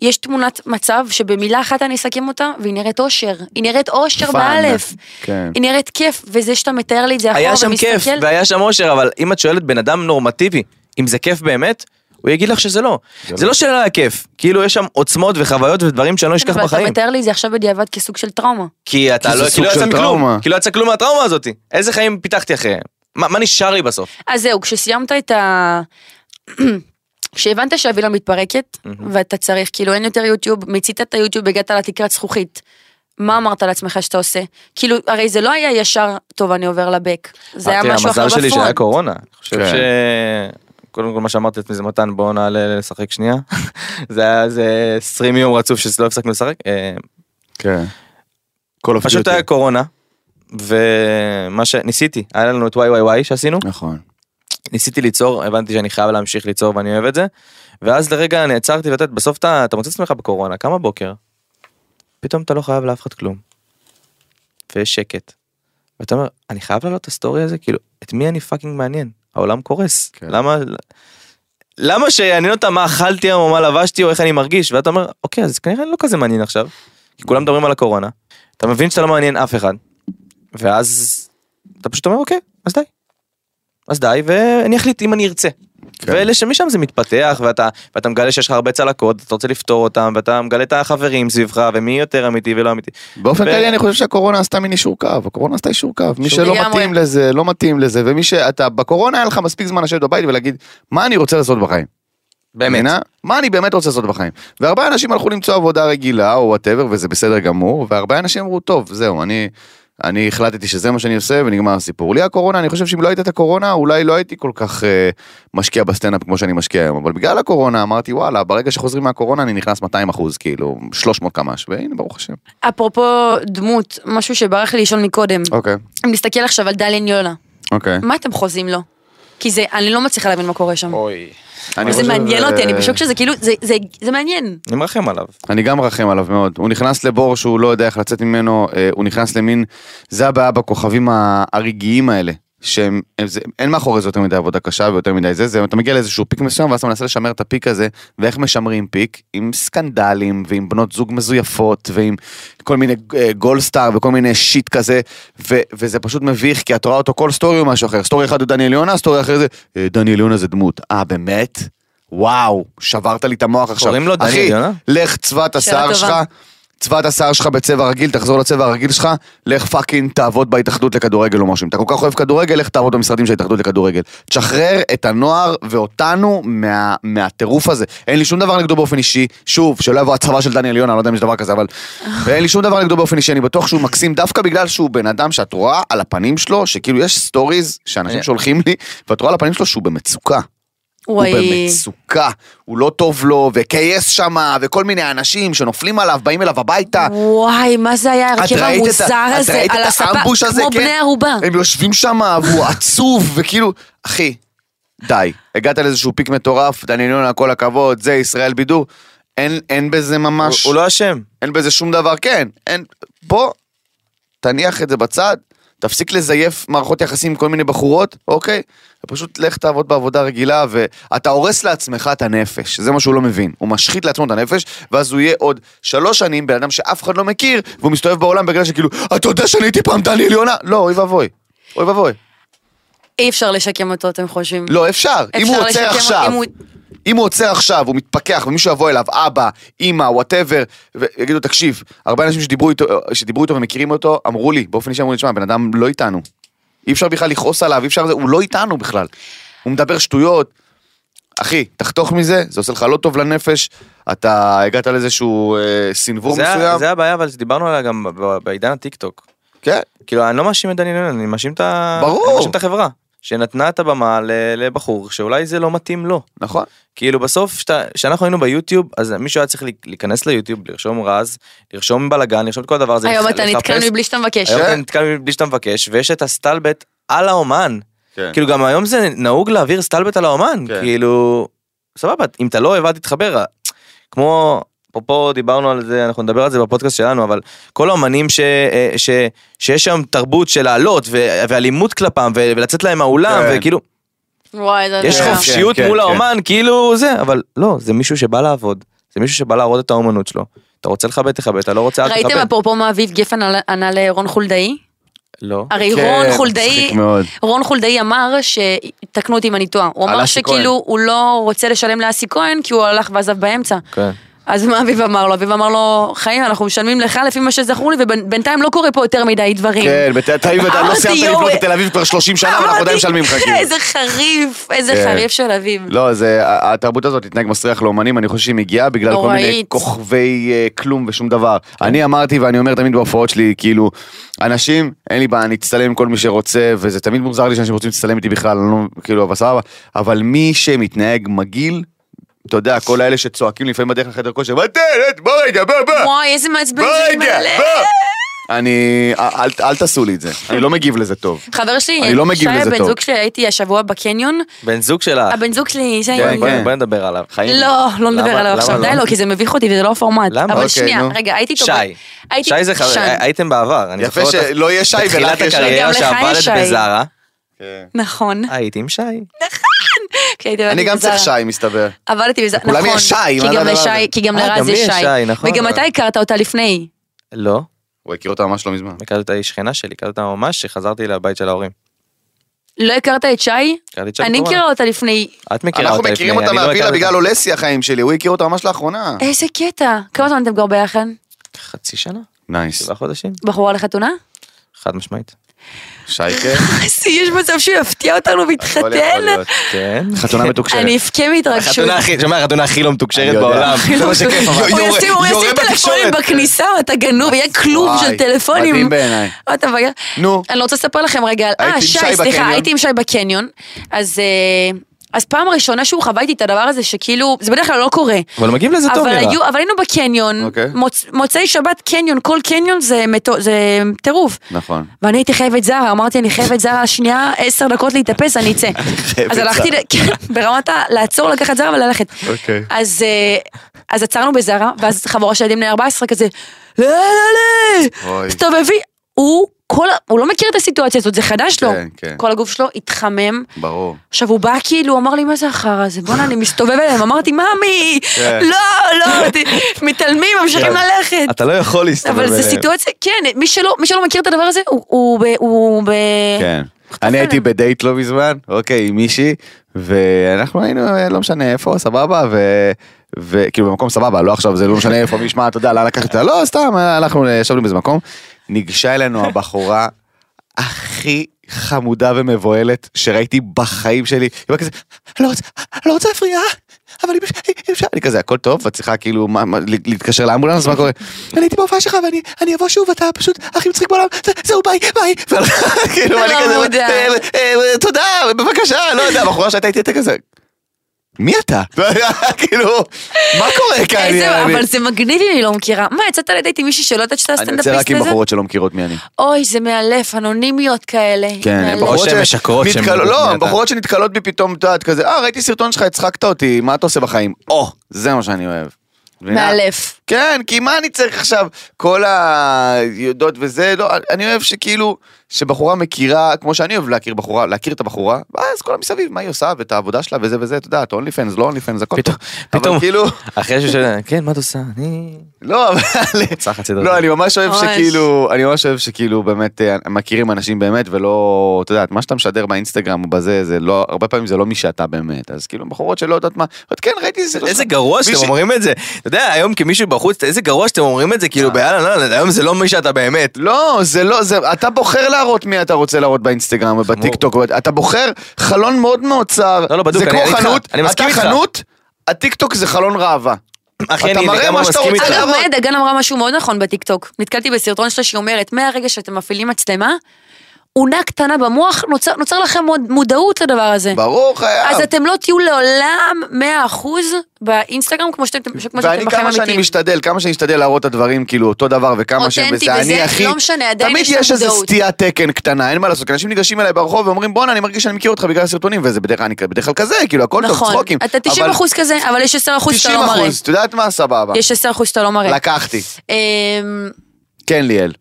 יש תמונת מצב שבמילה אחת אני אסכם אותה, והיא נראית אושר. היא נראית אושר
Fun.
באלף.
כן.
היא נראית כיף, וזה שאתה מתאר לי את זה אחורה
היה
ומסתכל.
שם כיף והיה שם אושר, אבל אם את שואלת בן אדם נורמטיבי, אם זה כיף באמת, הוא יגיד לך שזה לא. זה לא שלא היה כיף, כאילו יש שם עוצמות וחוויות ודברים שאני לא אשכח
כן, אבל אתה
בחיים.
מתאר לי את זה עכשיו בדיעבד כסוג של טראומה.
כי אתה
כי זה
לא, כי
סוג
לא
של
יצא מכלום,
טראומה.
כי לא יצא כלום מהטראומה הזאת. איזה חיים פיתחתי אחריהם? מה מה נשאר לי בסוף?
אז זהו, כשסיימת את ה... (clears throat) כשהבנת שהווילה מתפרקת, ואתה צריך, כאילו אין יותר יוטיוב, מיצית את היוטיוב, הגעת לתקרת זכוכית. מה אמרת לעצמך שאתה עושה? כאילו, הרי זה לא היה ישר, טוב, אני עובר לבק. זה היה
אה, תראה,
משהו אחר
המזל שלי שהיה
בפרונט.
קורונה. אני חושב
כן.
ש... קודם כל מה שאמרתי לעצמי זה מתן בואו נעלה לשחק שנייה. (laughs) זה היה איזה 20 יום רצוף שלא הפסקנו לשחק. אה,
כן. כל אופי.
פשוט היה קורונה. ומה שניסיתי, היה לנו את וואי וואי וואי שעשינו.
נכון.
ניסיתי ליצור, הבנתי שאני חייב להמשיך ליצור ואני אוהב את זה. ואז לרגע נעצרתי, ואתה יודע, בסוף אתה, אתה מוצא את עצמך בקורונה, קם בבוקר, פתאום אתה לא חייב לאף אחד כלום. ויש שקט. ואתה אומר, אני חייב לעלות את הסטורי הזה? כאילו, את מי אני פאקינג מעניין? העולם קורס.
כן.
כן. למה... למה שיעניין אותם מה אכלתי היום או מה לבשתי או איך אני מרגיש? ואתה אומר, אוקיי, אז כנראה אני לא כזה מעניין עכשיו. כי כולם מדברים על הקורונה. אתה מבין שאתה לא מעניין אף אחד. ואז אתה פשוט אומר, אוקיי, אז די. אז די, ואני אחליט אם אני ארצה.
כן.
ואלה שמשם זה מתפתח, ואתה, ואתה מגלה שיש לך הרבה צלקות, אתה רוצה לפתור אותם, ואתה מגלה את החברים סביבך, ומי יותר אמיתי ולא אמיתי.
באופן
ו-
כללי אני חושב שהקורונה עשתה מין אישור קו, הקורונה עשתה אישור קו, מי
אישור-
שלא
לגמרי.
מתאים לזה, לא מתאים לזה, ומי שאתה, בקורונה היה לך מספיק זמן לשבת בבית ולהגיד, מה אני רוצה לעשות בחיים?
באמת.
מבינה? מה אני באמת רוצה לעשות בחיים? והרבה אנשים הלכו למצוא עבודה רגילה או וואטאבר וזה בסדר גמור, והרבה אנשים אמרו, טוב, זהו, אני, אני החלטתי שזה מה שאני עושה ונגמר הסיפור. לי הקורונה, אני חושב שאם לא הייתה את הקורונה, אולי לא הייתי כל כך אה, משקיע בסטנדאפ כמו שאני משקיע היום, אבל בגלל הקורונה אמרתי, וואלה, ברגע שחוזרים מהקורונה אני נכנס 200 אחוז, כאילו, 300 קמ"ש, והנה, ברוך השם.
אפרופו דמות, משהו שברח לי לישון מקודם.
אה.
אוקיי,
אני מסתכל עכשיו על דליאן יונה.
אוקיי.
מה אתם חוזים לו? כי זה, אני לא מצליחה להבין מה קורה שם.
אוי.
אני
זה
חושב-
מעניין אותי, אני
אה,
בשוק שזה כאילו, זה- זה- זה מעניין.
אני מרחם עליו.
אני גם מרחם עליו מאוד. הוא נכנס לבור שהוא לא יודע איך לצאת ממנו, אה, הוא נכנס למין, זה הבעיה בכוכבים ה- הרגעיים האלה. שהם, הם, זה, אין מאחורי זה יותר מדי עבודה קשה ויותר מדי זה, זה, אתה מגיע לאיזשהו פיק מסוים ואז אתה מנסה לשמר את הפיק הזה, ואיך משמרים פיק? עם סקנדלים, ועם בנות זוג מזויפות, ועם כל מיני אה, גולדסטאר, וכל מיני שיט כזה, ו, וזה פשוט מביך, כי את רואה אותו כל סטורי הוא משהו אחר, סטורי אחד הוא דניאל יונה, סטורי אחר זה, אה, דניאל יונה זה דמות, אה באמת? וואו, שברת לי את המוח עכשיו.
קוראים לו דניאל
אחי,
יונה?
לך צבע את
שאלה
השיער
טובה.
שלך, צבע את השיער שלך בצבע רגיל, תחזור לצבע הרגיל שלך, לך פאקינג תעבוד בהתאחדות לכדורגל או משהו. אם אתה כל כך אוהב כדורגל, לך תעבוד במשרדים של ההתאחדות לכדורגל. תשחרר את הנוער ואותנו מה, מהטירוף הזה. אין לי שום דבר נגדו באופן אישי, שוב, שלא יבוא הצבא של דניאל יונה, אני לא יודע אם יש דבר כזה, אבל... אין לי שום דבר נגדו באופן אישי, אני בטוח שהוא מקסים דווקא בגלל שהוא בן אדם שאת רואה על הפנים שלו, שכאילו יש סטוריז שאנשים שולחים לי, ואת רואה על הפנים שלו שהוא במצוקה. הוא
וואי.
במצוקה, הוא לא טוב לו, וכייס שמה, וכל מיני אנשים שנופלים עליו, באים אליו הביתה.
וואי, מה זה היה
את
ההרכב
ראית את
המוזר
ה- את
הזה
ראית
על
את
הספה,
האמבוש הזה,
כמו
כן?
בני ערובה.
הם יושבים שם, והוא עצוב, וכאילו, אחי, די. הגעת לאיזשהו פיק מטורף, דניאל יונה, כל הכבוד, זה ישראל בידור. אין, אין בזה
הוא-
ממש,
הוא לא אשם.
אין בזה שום דבר, כן. אין, בוא, תניח את זה בצד, תפסיק לזייף מערכות יחסים עם כל מיני בחורות, אוקיי? ופשוט לך תעבוד בעבודה רגילה, ואתה הורס לעצמך את הנפש, זה מה שהוא לא מבין. הוא משחית לעצמו את הנפש, ואז הוא יהיה עוד שלוש שנים בן אדם שאף אחד לא מכיר, והוא מסתובב בעולם בגלל שכאילו, אתה יודע שאני הייתי פעם דניאל יונה? לא, אוי ואבוי. אוי ואבוי.
אי אפשר לשקם אותו, אתם חושבים.
לא, אפשר. אם הוא
לשקם
עוצר
אותו,
עכשיו,
אם הוא-
אם הוא עוצר עכשיו, הוא מתפכח, ומישהו יבוא אליו, אבא, אימא, וואטאבר, ויגידו, תקשיב, הרבה אנשים שדיברו איתו, שדיברו איתו ומכירים אותו, אמרו לי, באופן אישי אמרו לי, תשמע, הבן אדם לא איתנו. אי אפשר בכלל לכעוס עליו, אי אפשר, זה- הוא לא איתנו בכלל. הוא מדבר שטויות. אחי, תחתוך מזה, זה עושה לך לא טוב לנפש, אתה הגעת לאיזשהו אה, סנוור
זה ה-
מסוים.
זה הבעיה, אבל שדיברנו עליה גם ב- ב- בעידן הטיקטוק.
כן,
כאילו, אני לא מאשים את דניאל, אני מאשים את ה...
ברור.
אני מאשים את החברה. שנתנה את הבמה ל- לבחור שאולי זה לא מתאים לו.
נכון.
כאילו בסוף שאתה- כשאנחנו היינו ביוטיוב אז מישהו היה צריך להיכנס ליוטיוב לרשום רז לרשום בלאגן לרשום את כל הדבר הזה
היום
לח-
אתה
לחפש.
נתקן מבלי שאתה מבקש.
אה?
היום אתה נתקל בלי שאתה מבקש ויש את הסטלבט על האומן
כן.
כאילו גם היום זה נהוג להעביר סטלבט על האומן
כן.
כאילו סבבה אם אתה לא אוהב אל תתחבר כמו אפרופו דיברנו על זה אנחנו נדבר על זה בפודקאסט שלנו אבל כל האומנים ש, אה, ש, שיש שם תרבות של לעלות ו- ואלימות כלפם ו- ולצאת להם מהאולם
כן.
וכאילו
וואי, זה...
יש
זה-
כן,
חופשיות
כן,
מול
כן.
האומן, כאילו זה, אבל לא, זה מישהו שבא לעבוד, זה מישהו שבא להראות את האומנות שלו. אתה רוצה לכבד, תכבד, אתה לא רוצה, אל
ראיתם
תכבד.
אפרופו מה אביב גפן עלה- ענה לרון חולדאי?
לא.
הרי
כן,
כאילו, רון
מצחיק
חולדאי,
מאוד.
רון חולדאי אמר, שתקנו אותי אם אני טועה, הוא
על
אמר
אסי
שכאילו הוא לא רוצה לשלם לאסי כהן כי הוא הלך ועזב באמצע.
כן.
אז מה אביב אמר לו? אביב אמר לו, חיים, אנחנו משלמים לך לפי מה שזכור לי, ובינתיים לא קורה פה יותר מדי דברים.
כן, בתל אביב אתה לא
אמרתי,
סיימת
יואו. כן,
לבנות את תל אביב כבר 30 שנה, ואנחנו עדיין משלמים לך. כאילו.
(laughs) איזה חריף, איזה
כן.
חריף של אביב.
לא, זה, ה- התרבות הזאת להתנהג מסריח לאומנים, אני חושב שהיא מגיעה בגלל כל מיני
נוראית. כן.
כוכבי אה, כלום ושום דבר. אני אמרתי ואני אומר תמיד בהופעות שלי, כאילו, אנשים, אין לי בעיה, אני אצטלם עם כל מי שרוצה, וזה תמיד מוזר לי שאנשים רוצים להצטלם איתי בכלל, אני לא, כאילו, אבל סבבה, אבל מי שמתנהג מגעיל, אתה יודע, כל האלה שצועקים לפעמים בדרך לחדר כושר, "מה אתה, בוא רגע, בוא, בוא.
וואי, איזה מעצבן
לא. בוא
זה
רגע,
מלא.
בוא. אני, אה, אל- אל- אל תעשו לי את זה, אני לא מגיב לזה טוב.
חבר שלי,
אני לא מגיב
שי,
לזה
הבן
טוב.
זוג שלי, הייתי השבוע בקניון,
בן זוג שלך.
הבן זוג שלי, שי,
כן,
בואי
כן.
בואי נדבר עליו.
חיים.
לא, לא
למה-
נדבר עליו
למה
עכשיו,
לא?
די לא, כי זה מביך אותי וזה לא הפורמט.
למה?
אבל
אוקיי,
שנייה,
נו.
רגע, הייתי טוב.
שי. שי זה חבר, אה, הי- הייתם בעבר. אני זוכר
יפה
אותך
שלא יהיה שי ולך
בתחילת
יש שי.
גם
הקריירה
לך יש
שעבדת
שי.
בזארה, (laughs)
נכון.
הייתי עם שי.
כשהייתי
אני
עבדתי
גם צריך
בזארה.
שי, מסתבר.
עבדתי בזארה,
לכולם
נכון.
יש שי,
כי
מה זה
גם
הדבר
לשי-
הזה?
כי גם
אה, גם
לרז
לי
יש
יש שי, נכון.
וגם אתה הכרת אותה לפני.
לא.
הוא הכיר אותה ממש לא מזמן.
הכרת אותה היא שכנה שלי, הכרת אותה ממש שחזרתי לבית של ההורים.
לא הכרת את שי?
הכרתי את שי
אני כאילו-
בקורונה.
מכירה אותה לפני...
את מכירה
אנחנו
אותה לפני,
מכירים אותה
אני לא
מהווילה
הכרתי
בגלל
אותה. אה.
אולסי החיים שלי, הוא הכיר אותה ממש לאחרונה.
איזה קטע. כמה זמן אתם כבר ביחד?
חצי שנה?
נייס.
שבעה חודשים?
בחורה לחתונה?
חד משמעית. (laughs)
שייקה.
אז יש מצב שהוא יפתיע אותנו
יכול להיות, יכול
ויתחתן?
להיות.
כן.
חתונה מתוקשרת.
אני אבכה מהתרגשות.
החתונה הכי, שומע, החתונה הכי לא
אני
מתוקשרת
יודע.
בעולם.
הכי
זה מה שכיף, אבל-
הוא
יורה-
ישים הוא
יורה
ישים טלפונים
בתקשורת.
בכניסה, אתה גנוב, יהיה כלוב
וואי,
של טלפונים.
מדהים בעיניי.
אתה מגיע.
נו.
אני רוצה לספר לכם רגע על...
הייתי
אה,
עם
שי,
שי בקניון.
סליחה, הייתי עם שי בקניון. אז... אה, אז פעם ראשונה שהוא חווה איתי את הדבר הזה שכאילו, זה בדרך כלל לא קורה.
אבל מגיעים לזה טוב
אבל
נראה.
היו- אבל היינו בקניון,
אוקיי.
מוצ- מוצאי שבת קניון, כל קניון זה מטו- זה טירוף.
נכון.
ואני הייתי חייבת זרה, אמרתי אני חייבת זרה, שנייה עשר דקות להתאפס, אני
(laughs)
אצא. אז הלכתי, ל- (laughs) כן, ברמת ה- לעצור, לקחת זרה וללכת.
אוקיי.
אז אה, אז עצרנו בזרה, ואז חבורה של ילדים בני 14 כזה, לא, לא, לא,
אוי.
הסתובבי, הוא... כל, ה- הוא לא מכיר את הסיטואציה הזאת, זה חדש לו.
כן, כן.
כל הגוף שלו התחמם.
ברור.
עכשיו הוא בא כאילו, הוא אמר לי, מה זה החרא הזה? בואנה, אני מסתובב אליהם, אמרתי, ממי,
כן.
לא, לא, ת- מתעלמים, ממשיכים ללכת.
אתה לא יכול להסתובב
אבל
אליהם.
זו סיטואציה, כן, מי שלא, מי שלא מכיר את הדבר הזה, הוא, הוא, ב, הוא ב...
אה.
כן. אני הייתי בדייט לא מזמן, אוקיי, עם מישהי, ואנחנו היינו, אה, לא משנה איפה, סבבה, ו... וכאילו במקום סבבה, לא עכשיו, זה לא משנה איפה, מי ישמע, אתה יודע, לאן לקחת, לא, סתם, אה, אנחנו אה, ישבנו באיזה מקום. ניגשה אלינו הבחורה הכי חמודה ומבוהלת שראיתי בחיים שלי. היא באה כזה, אני לא רוצה, אני לא רוצה להפריע, אבל אם אפשר- אם אפשר, אני כזה, הכל טוב, ואת צריכה כאילו מה- מה, להתקשר לאמבולנס, מה קורה? אני הייתי בהופעה שלך ואני אני אבוא שוב, אתה פשוט הכי מצחיק בעולם, זה- זהו, ביי, ביי. (laughs) והלכה, כאילו, אני כזה,
חמודה.
"אה, אה, תודה, בבקשה, לא יודע, הבחורה שהייתה איתי, אתה כזה. מי אתה? (laughs) כאילו, מה קורה כאן?
איזה,
יעני?"
אה, אבל זה מגניב אם היא לא מכירה. מה, יצאת לדייט עם מישהי שלא יודעת שאתה
אני יוצא רק
הסטנדאפיסט
עם
הזה?
בחורות שלא מכירות מי אני.
אוי, זה מאלף, אנונימיות כאלה.
כן,
מאלף.
הן בחורות
אה, או שהן
ש-
משקרות שהן
נתקל-
יודעות מי
לא,
אתה.
הן בחורות שנתקלות בי פתאום, את יודעת, כזה, אה, ראיתי סרטון שלך, הצחקת אותי, מה אתה עושה בחיים? או, זה מה שאני אוהב. מבינה?
מאלף.
כן, כי מה אני צריך עכשיו? כל היודות וזה, לא, אני אוהב שכאילו, שבחורה מכירה, כמו שאני אוהב להכיר בחורה, להכיר את הבחורה, ואז כל המסביב, מה היא עושה, ואת העבודה שלה, וזה וזה, את יודעת, אונלי פנס, לא אונלי פנס, הכל
פתאום,
אבל
פתאום,
כאילו,
אחרי שהוא שואל, כן, מה את עושה? אני...
לא, אבל...
רוצה חצי דקה.
לא, אני ממש אוהב
ממש.
שכאילו, אני ממש אוהב שכאילו באמת אה, מכירים אנשים באמת ולא, אתה יודעת, מה שאתה משדר באינסטגרם או בזה, זה לא, הרבה פעמים זה לא מי שאתה באמת, אז כאילו בחורות שלא יודעת מה, את כן ראיתי איזה סרטון
איזה
שלך."
גרוע שאתם
מישהי-
אומרים את זה. אתה יודע, היום כמישהו בחוץ, איזה גרוע שאתם אומרים את זה, כאילו,
אה.
ביאללה, לא, לא, היום זה לא מי שאתה באמת.
לא, זה לא, זה, אתה בוחר להראות מי אתה רוצה להראות באינסטגרם ובטיק טוק, אתה בוחר חלון מאוד מאוד צר,
לא, לא, בדיוק,
זה כמו
אני איתך,
חנות,
אני מסכים
אתה
איתך.
חנות, הטיק טוק זה חלון ראווה.
אחי,
אתה
אני
מראה
לגמרי
מה שאתה
מסכים
רוצה.
איתך.
אגב,
אבל-
מאיה דגן אמרה משהו מאוד נכון בטיקטוק. נתקלתי בסרטון שלה שהיא אומרת, מהרגע שאתם מפעילים מצלמה, אונה קטנה במוח, נוצר- נוצר לכם מוד- מודעות לדבר הזה.
ברור, חייב.
כן. אז אתם לא תהיו לעולם 100% באינסטגרם כמו שאתם כמו שאתם בחיים
ואני
אמיתיים.
כמה שאני משתדל, כמה שאני משתדל להראות את הדברים כאילו אותו דבר וכמה שהם
אותנטי
וזה,
וזה,
אני הכי,
לא משנה, עדיין
תמיד
יש שם
יש איזה
מודעות.
סטיית תקן קטנה, אין מה לעשות, כי אנשים ניגשים אליי ברחוב ואומרים בואנה אני מרגיש שאני מכיר אותך בגלל הסרטונים, וזה בדרך כלל- אני בדרך כלל כזה, כאילו הכל טוב,
נכון,
צחוקים.
אתה 90
אבל
אחוז כזה, אבל יש 10 אחוז שאתה
90
לא מראה.
אחוז, את יודעת מה סבבה,
יש 10 אחוז שאתה לא מראה.
לקחתי,
אמ,
כן ליאל,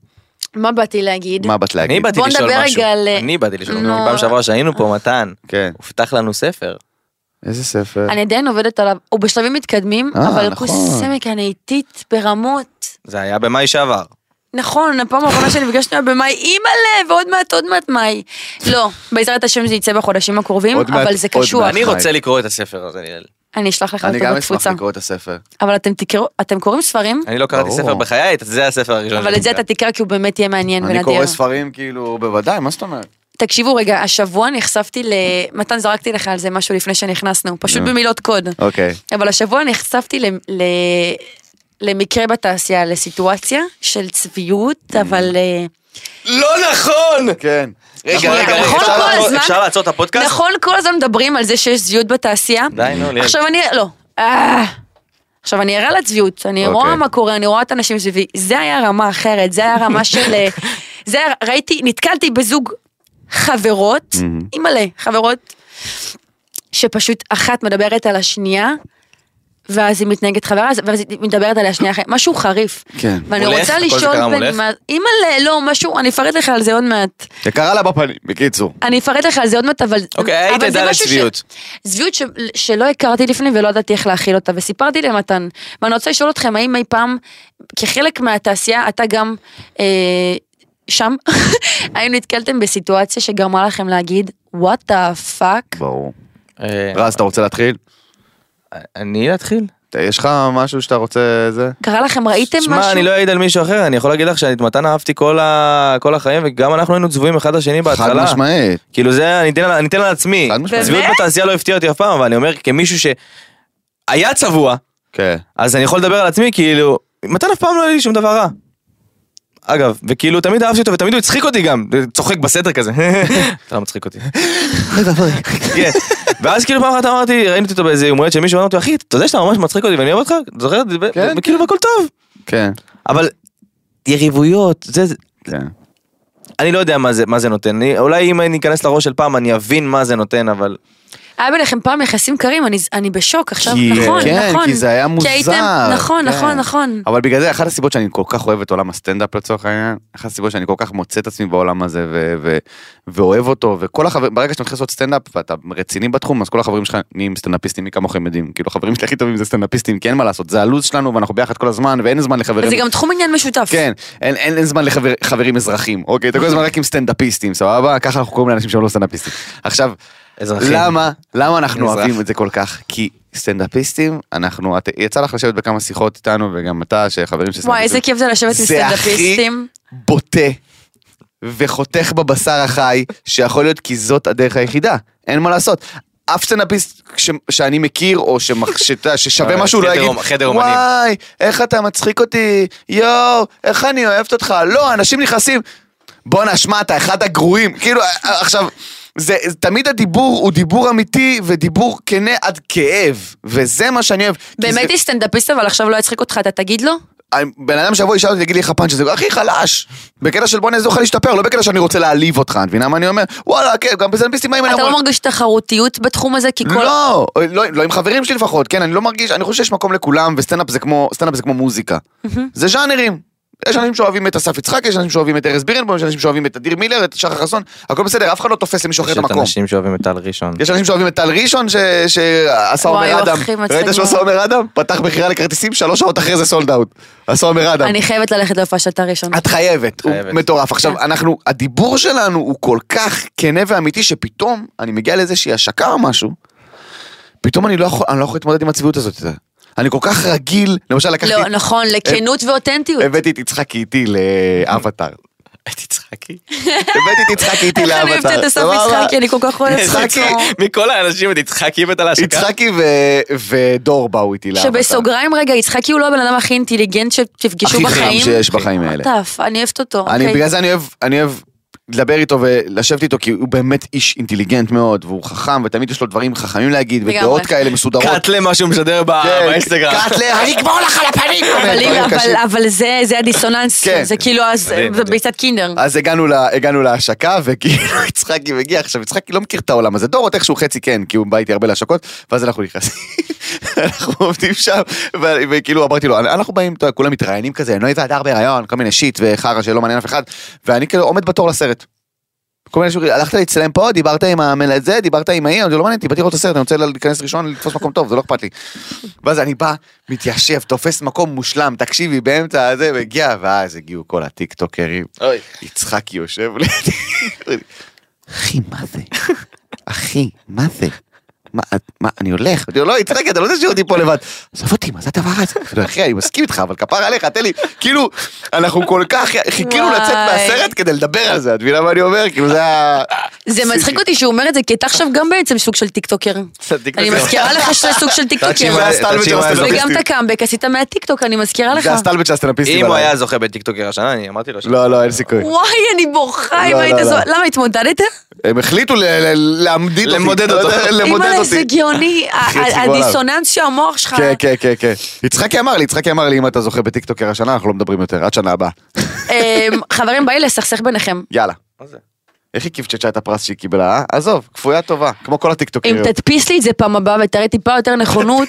מה באתי להגיד?
מה באת
אני
להגיד,
באתי
בוא
לשאול
נדבר
משהו.
רגע על-
אני באתי לשאול.
נו. אה.
פעם שעברה שהיינו פה, מתן,
כן.
הובטח לנו ספר.
איזה ספר,
אני עדיין עובדת עליו, הוא בשלבים מתקדמים,
אה,
אבל
נכון.
קוסמק, אני איטית ברמות.
זה היה במאי שעבר.
נכון, הפעם האחרונה שנפגשנו היה במאי, אימא'לה, ועוד מעט, עוד מעט מאי. לא, בעזרת השם זה יצא בחודשים הקרובים,
עוד מעט,
אבל זה
עוד
קשוח.
מעט.
אני רוצה לקרוא את הספר הזה, ליאל.
אני אשלח לך
אני
אותו
גם אשמח
בתפוצה.
לקרוא את הספר,
אבל אתם תקראו, אתם קוראים ספרים?
אני לא קראתי
ברור.
ספר בחיי, זה הספר הראשון.
אבל
שאני
את זה
קורא.
אתה תקרא כי הוא באמת יהיה מעניין ונדיר.
אני קורא ספרים כאילו בוודאי, מה זאת אומרת,
תקשיבו רגע, השבוע נחשפתי ל... מתן, זרקתי לך על זה משהו לפני שנכנסנו, פשוט במילות קוד.
אוקיי,
אבל השבוע נחשפתי ל... ל... למקרה בתעשייה, לסיטואציה של צביעות, אבל... אה,
לא נכון!
כן,
רגע,
שנייה,
רגע, רגע,
נכון
אפשר
כל
לעצור-
הזמן-
אפשר לעצור את הפודקאסט?
נכון, כל הזמן מדברים על זה שיש צביעות בתעשייה.
די, נו, ליאל.
עכשיו אני... לא. אה. עכשיו אני ערה לצביעות, אני
אוקיי.
רואה מה קורה, אני רואה את האנשים סביבי. זה היה רמה אחרת, זה היה רמה של...
(laughs)
אה, זה היה... ראיתי, נתקלתי בזוג חברות, אימא'לה, חברות, שפשוט אחת מדברת על השנייה. ואז היא מתנהגת חברה, ואז היא מדברת עליה שנייה אחרי, משהו חריף.
כן.
ואני
מולך?
רוצה
הכל זה קרה
לשאול, בני,
מולך?
מה- אימא'לה, לא, משהו, אני אפרט לך על זה עוד מעט.
זה קרה לה בפנים, בקיצור,
אני אפרט לך על זה עוד מעט, אבל...
אוקיי, היית
אבל זה
עדה
משהו
לצביעות.
ש... צביעות ש... שלא הכרתי לפני ולא ידעתי איך להכיל אותה, וסיפרתי למתן. ואני רוצה לשאול אתכם, האם אי פעם, כחלק מהתעשייה, אתה גם אה, שם, (laughs) האם נתקלתם בסיטואציה שגרמה לכם להגיד, what the fuck?
ברור.
אה,
רז, אתה רוצה להתחיל?
אני להתחיל?
אתה- יש לך משהו שאתה רוצה זה?
קרה לכם, ראיתם משהו?
שמע, אני לא אעיד על מישהו אחר, אני יכול להגיד לך שאת מתן אהבתי כל ה- כל החיים, וגם אנחנו היינו צבועים אחד לשני בהתחלה.
חד משמעית.
כאילו זה, אני אתן על- אני אתן על עצמי.
חד משמעית.
צביעות
באמת?
בתעשייה לא הפתיע אותי אף פעם, אבל אני אומר, כמישהו שהיה צבוע,
כן.
אז אני יכול לדבר על עצמי, כאילו, מתן אף פעם לא היה לי שום דבר רע. אגב, וכאילו תמיד אהבתי אותו ותמיד הוא הצחיק אותי גם, צוחק בסתר כזה, (laughs) אתה לא מצחיק אותי. כן. ואז כאילו פעם אחת אמרתי, ראיתי אותו באיזה יום הולדת של מישהו, אמרתי, אחי, אתה יודע שאתה ממש מצחיק אותי ואני אוהב אותך? אתה זוכר? את זה?" ו-
כן,
וכאילו והכל טוב.
כן.
אבל יריבויות, זה, זה-
כן.
אני לא יודע מה זה, מה זה נותן, אני, אולי אם אני אכנס לראש של פעם אני אבין מה זה נותן, אבל
היה ביניכם פעם יחסים קרים, אני, אני בשוק עכשיו,
כי-
נכון,
כן,
נכון.
כי זה היה מוזר.
כי הייתם, נכון,
כן.
נכון, נכון.
אבל בגלל זה אחת הסיבות שאני כל כך אוהב את עולם הסטנדאפ לצורך העניין, אחת הסיבות שאני כל כך מוצא את עצמי בעולם הזה ו- ו- ואוהב אותו, וכל החברים, ברגע שאתה מתחיל לעשות סטנדאפ ואתה רציני בתחום, אז כל החברים שלך נהיים סטנדאפיסטים, מי כמוכם יודעים, כאילו החברים שלי הכי טובים זה סטנדאפיסטים, כי אין מה לעשות, זה הלו"ז שלנו ואנחנו ביחד כל הזמן, ואין זמן לחברים.
וזה גם תחום עניין משותף.
כן, אין, אין, אין זמן לחברים חברים אזרחים, אוקיי? אתה כל הזמן רק עם סטנדאפיסטים, סבבה? ככה אנחנו קוראים לאנשים שהם לא סטנדאפיסטים. עכשיו,
אזרחים.
למה, למה אנחנו
אזרח.
אוהבים את זה כל כך? כי סטנדאפיסטים, אנחנו, את, יצא לך לשבת בכמה שיחות איתנו, וגם אתה, שחברים של
וואי, איזה כיף זה לשבת עם
זה הכי
סטנדאפיסטים.
בוטה וחותך בבשר החי, שיכול להיות כי זאת הדרך היחידה, אין מה לעשות. אף סטנדאפיסט ש- שאני מכיר,
(laughs)
או שמח- שאתה יודע, ששווה
אה,
משהו, לא
חדר
יגיד,
אומ- חדר אומנים.
וואי, איך אתה מצחיק אותי, יואו, איך אני אוהבת אותך, לא, אנשים נכנסים, בואנה, שמע, אתה אחד הגרועים, כאילו, אה, אה, עכשיו, זה, זה- תמיד הדיבור הוא דיבור אמיתי ודיבור כנה עד כאב, וזה מה שאני אוהב. כי זה-
באמת היא סטנדאפיסט, אבל עכשיו לא יצחיק אותך, אתה תגיד לו?
בן אדם שיבוא ישאל אותי, יגיד לי איך הפאנץ' הזה, הכי חלש. בקטע של בוא נעזור לך להשתפר, לא בקטע שאני רוצה להעליב אותך, את מבינה מה אני אומר? וואלה, כן, גם בסטנדאפיסטים האם אני
אתה
אומר...
לא מרגיש תחרותיות בתחום הזה? כי כל...
לא, לא, לא עם חברים שלי לפחות, כן, אני לא מרגיש, אני חושב שיש מקום לכולם, וסטנדאפ זה כמו, סטנדאפ זה כמו מוזיקה. זה ז'אנרים. יש אנשים שאוהבים את אסף יצחק, יש אנשים שאוהבים את ארז בירנבוים, יש אנשים שאוהים את אדיר מילר, את שחר חסון, הכל בסדר, אף אחד לא תופס למישהו אחר
יש
את
את
המקום.
אנשים שאוהבים את טל ראשון. (laughs)
יש אנשים שאוהבים את טל ראשון ש- שעשה
וואי,
עומר
הוא
אדם.
הכי מצחיק
ראית שהוא עשה
מאוד.
עומר אדם? פתח מכירה לכרטיסים, שלוש שעות אחרי זה סולד אאוט. עשה עומר אדם.
אני חייבת ללכת להופעה של תא ראשון.
את חייבת, הוא
חייבת.
מטורף. עכשיו, אנחנו, הדיבור שלנו הוא כל כך כנה ואמיתי, שפתאום אני מגיע לאיזושהי השקה או משהו, פתאום אני לא יכול, אני לא יכול להתמודד עם הצביעות הזאת. אתה יודע. אני כל כך רגיל, למשל לקחתי,
לא, נכון, לכנות ואותנטיות.
הבאתי את יצחקי איתי
(laughs)
לאבטאר.
הייתי צחקי.
הבאתי את יצחקי איתי
איך אני אוהבת
לאבטאר.
את אסף
סבבה?
יצחקי, אני כל כך אוהבת
יצחקי,
אותו.
מכל האנשים את יצחקי הבאת להשקה.
יצחקי ו- ודור באו איתי לאבטאר.
שבסוגריים רגע, יצחקי הוא לא הבן אדם הכי אינטליגנט שתפגשו
הכי חם
בחיים.
שיש בחיים האלה.
טף, אני אוהבת אותו.
אני
אוקיי.
בגלל זה אני אוהב, אני אוהב לדבר איתו ולשבת איתו כי הוא באמת איש אינטליגנט מאוד והוא חכם ותמיד יש לו דברים חכמים להגיד
לגמרי.
ודעות כאלה מסודרות.
קאטלה מה שהוא משדר ב-
כן,
באינסטגרם.
קאטלה, אני אגמור לך על הפנים!
אבל
דברים
הנה, אבל-
קשים.
אבל זה זה הדיסוננס,
כן.
זה כאילו, אז-
מדהים,
זה
מדהים.
ביצת קינדר.
אז הגענו, לה, הגענו להשקה וכאילו (laughs) יצחקי מגיע עכשיו יצחקי לא מכיר את העולם הזה דורות איכשהו חצי כן כי הוא בא איתי הרבה להשקות ואז אנחנו נכנסים (laughs) אנחנו עובדים שם ו- וכאילו אמרתי לו אנחנו באים אתה יודע, כולם מתראיינים כזה נוי והדר בהיריון כל מיני שיט וחרא שלא מעניין אף אחד ואני כאילו עומד בתור לסרט. כל מיני שוגרים, הלכת להצטלם פה, דיברת עם המנהל זה, דיברת עם ההיא, זה לא מעניין אותי, באתי לראות את הסרט, אני רוצה להיכנס ראשון, לתפוס מקום טוב, זה לא אכפת לי. ואז אני בא, מתיישב, תופס מקום מושלם, תקשיבי, באמצע הזה, מגיע, ואז הגיעו כל הטיקטוקרים.
אוי.
יצחקי יושב לידי. אחי, מה זה? אחי, מה זה? מה, את- מה, אני הולך. אני אומר, לא, יצחקי, אתה לא תשאיר אותי פה לבד. עזוב אותי, מה זה הדבר הזה? אני אומר, אחי, אני מסכים איתך, אבל כפר עליך, תן לי. כאילו, אנחנו כל כך חיכינו
וואי.
לצאת מהסרט כדי לדבר על זה, את מבינה מה אני אומר? כאילו, זה היה...
זה מצחיק אותי שהוא אומר את זה, כי אתה עכשיו גם בעצם סוג של טיקטוקר. אני מזכירה לך שאתה סוג של
תקשיב,
טיקטוקר.
זה הסטלבט של
וגם את
הסטנדאפיסטים.
הקאמבק עשית מהטיקטוק, אני מזכירה לך.
זה הסטלבט של הסטנדאפיסטים.
אם הוא
עליי.
היה זוכה בטיקטוקר השנה, אני אמרתי לו ש...
לא, לא, אין סיכוי.
וואי, אני בורחה אם
לא,
היית
לא,
זו...
לא.
למה התמודדת?
הם החליטו ל- ל- להמדיד אותי.
למודד
לא
אותו.
יודע, למודד
אימא'לה, זה
אותי.
גאוני, ה-
(laughs) אחי, יציבו עליו.
הדיסוננס שהמוח שלך...
כן, כן, כן, כן. יצחקי אמר לי, יצחקי אמר לי, אם אתה זוכה בטיקטוקר השנה, אנחנו לא מדברים יותר, עד שנה הבאה.
אמ, חברים, בא לי לסכסך ביניכם.
יאללה.
מה זה?
איך היא קפצ'צ'ה את הפרס שהיא קיבלה, אה? עזוב, כפויה טובה, כמו כל
אם
הטיקטוקריות.
תדפיס לי את זה פעם הבאה ותראה טיפה יותר
(laughs)
נכונות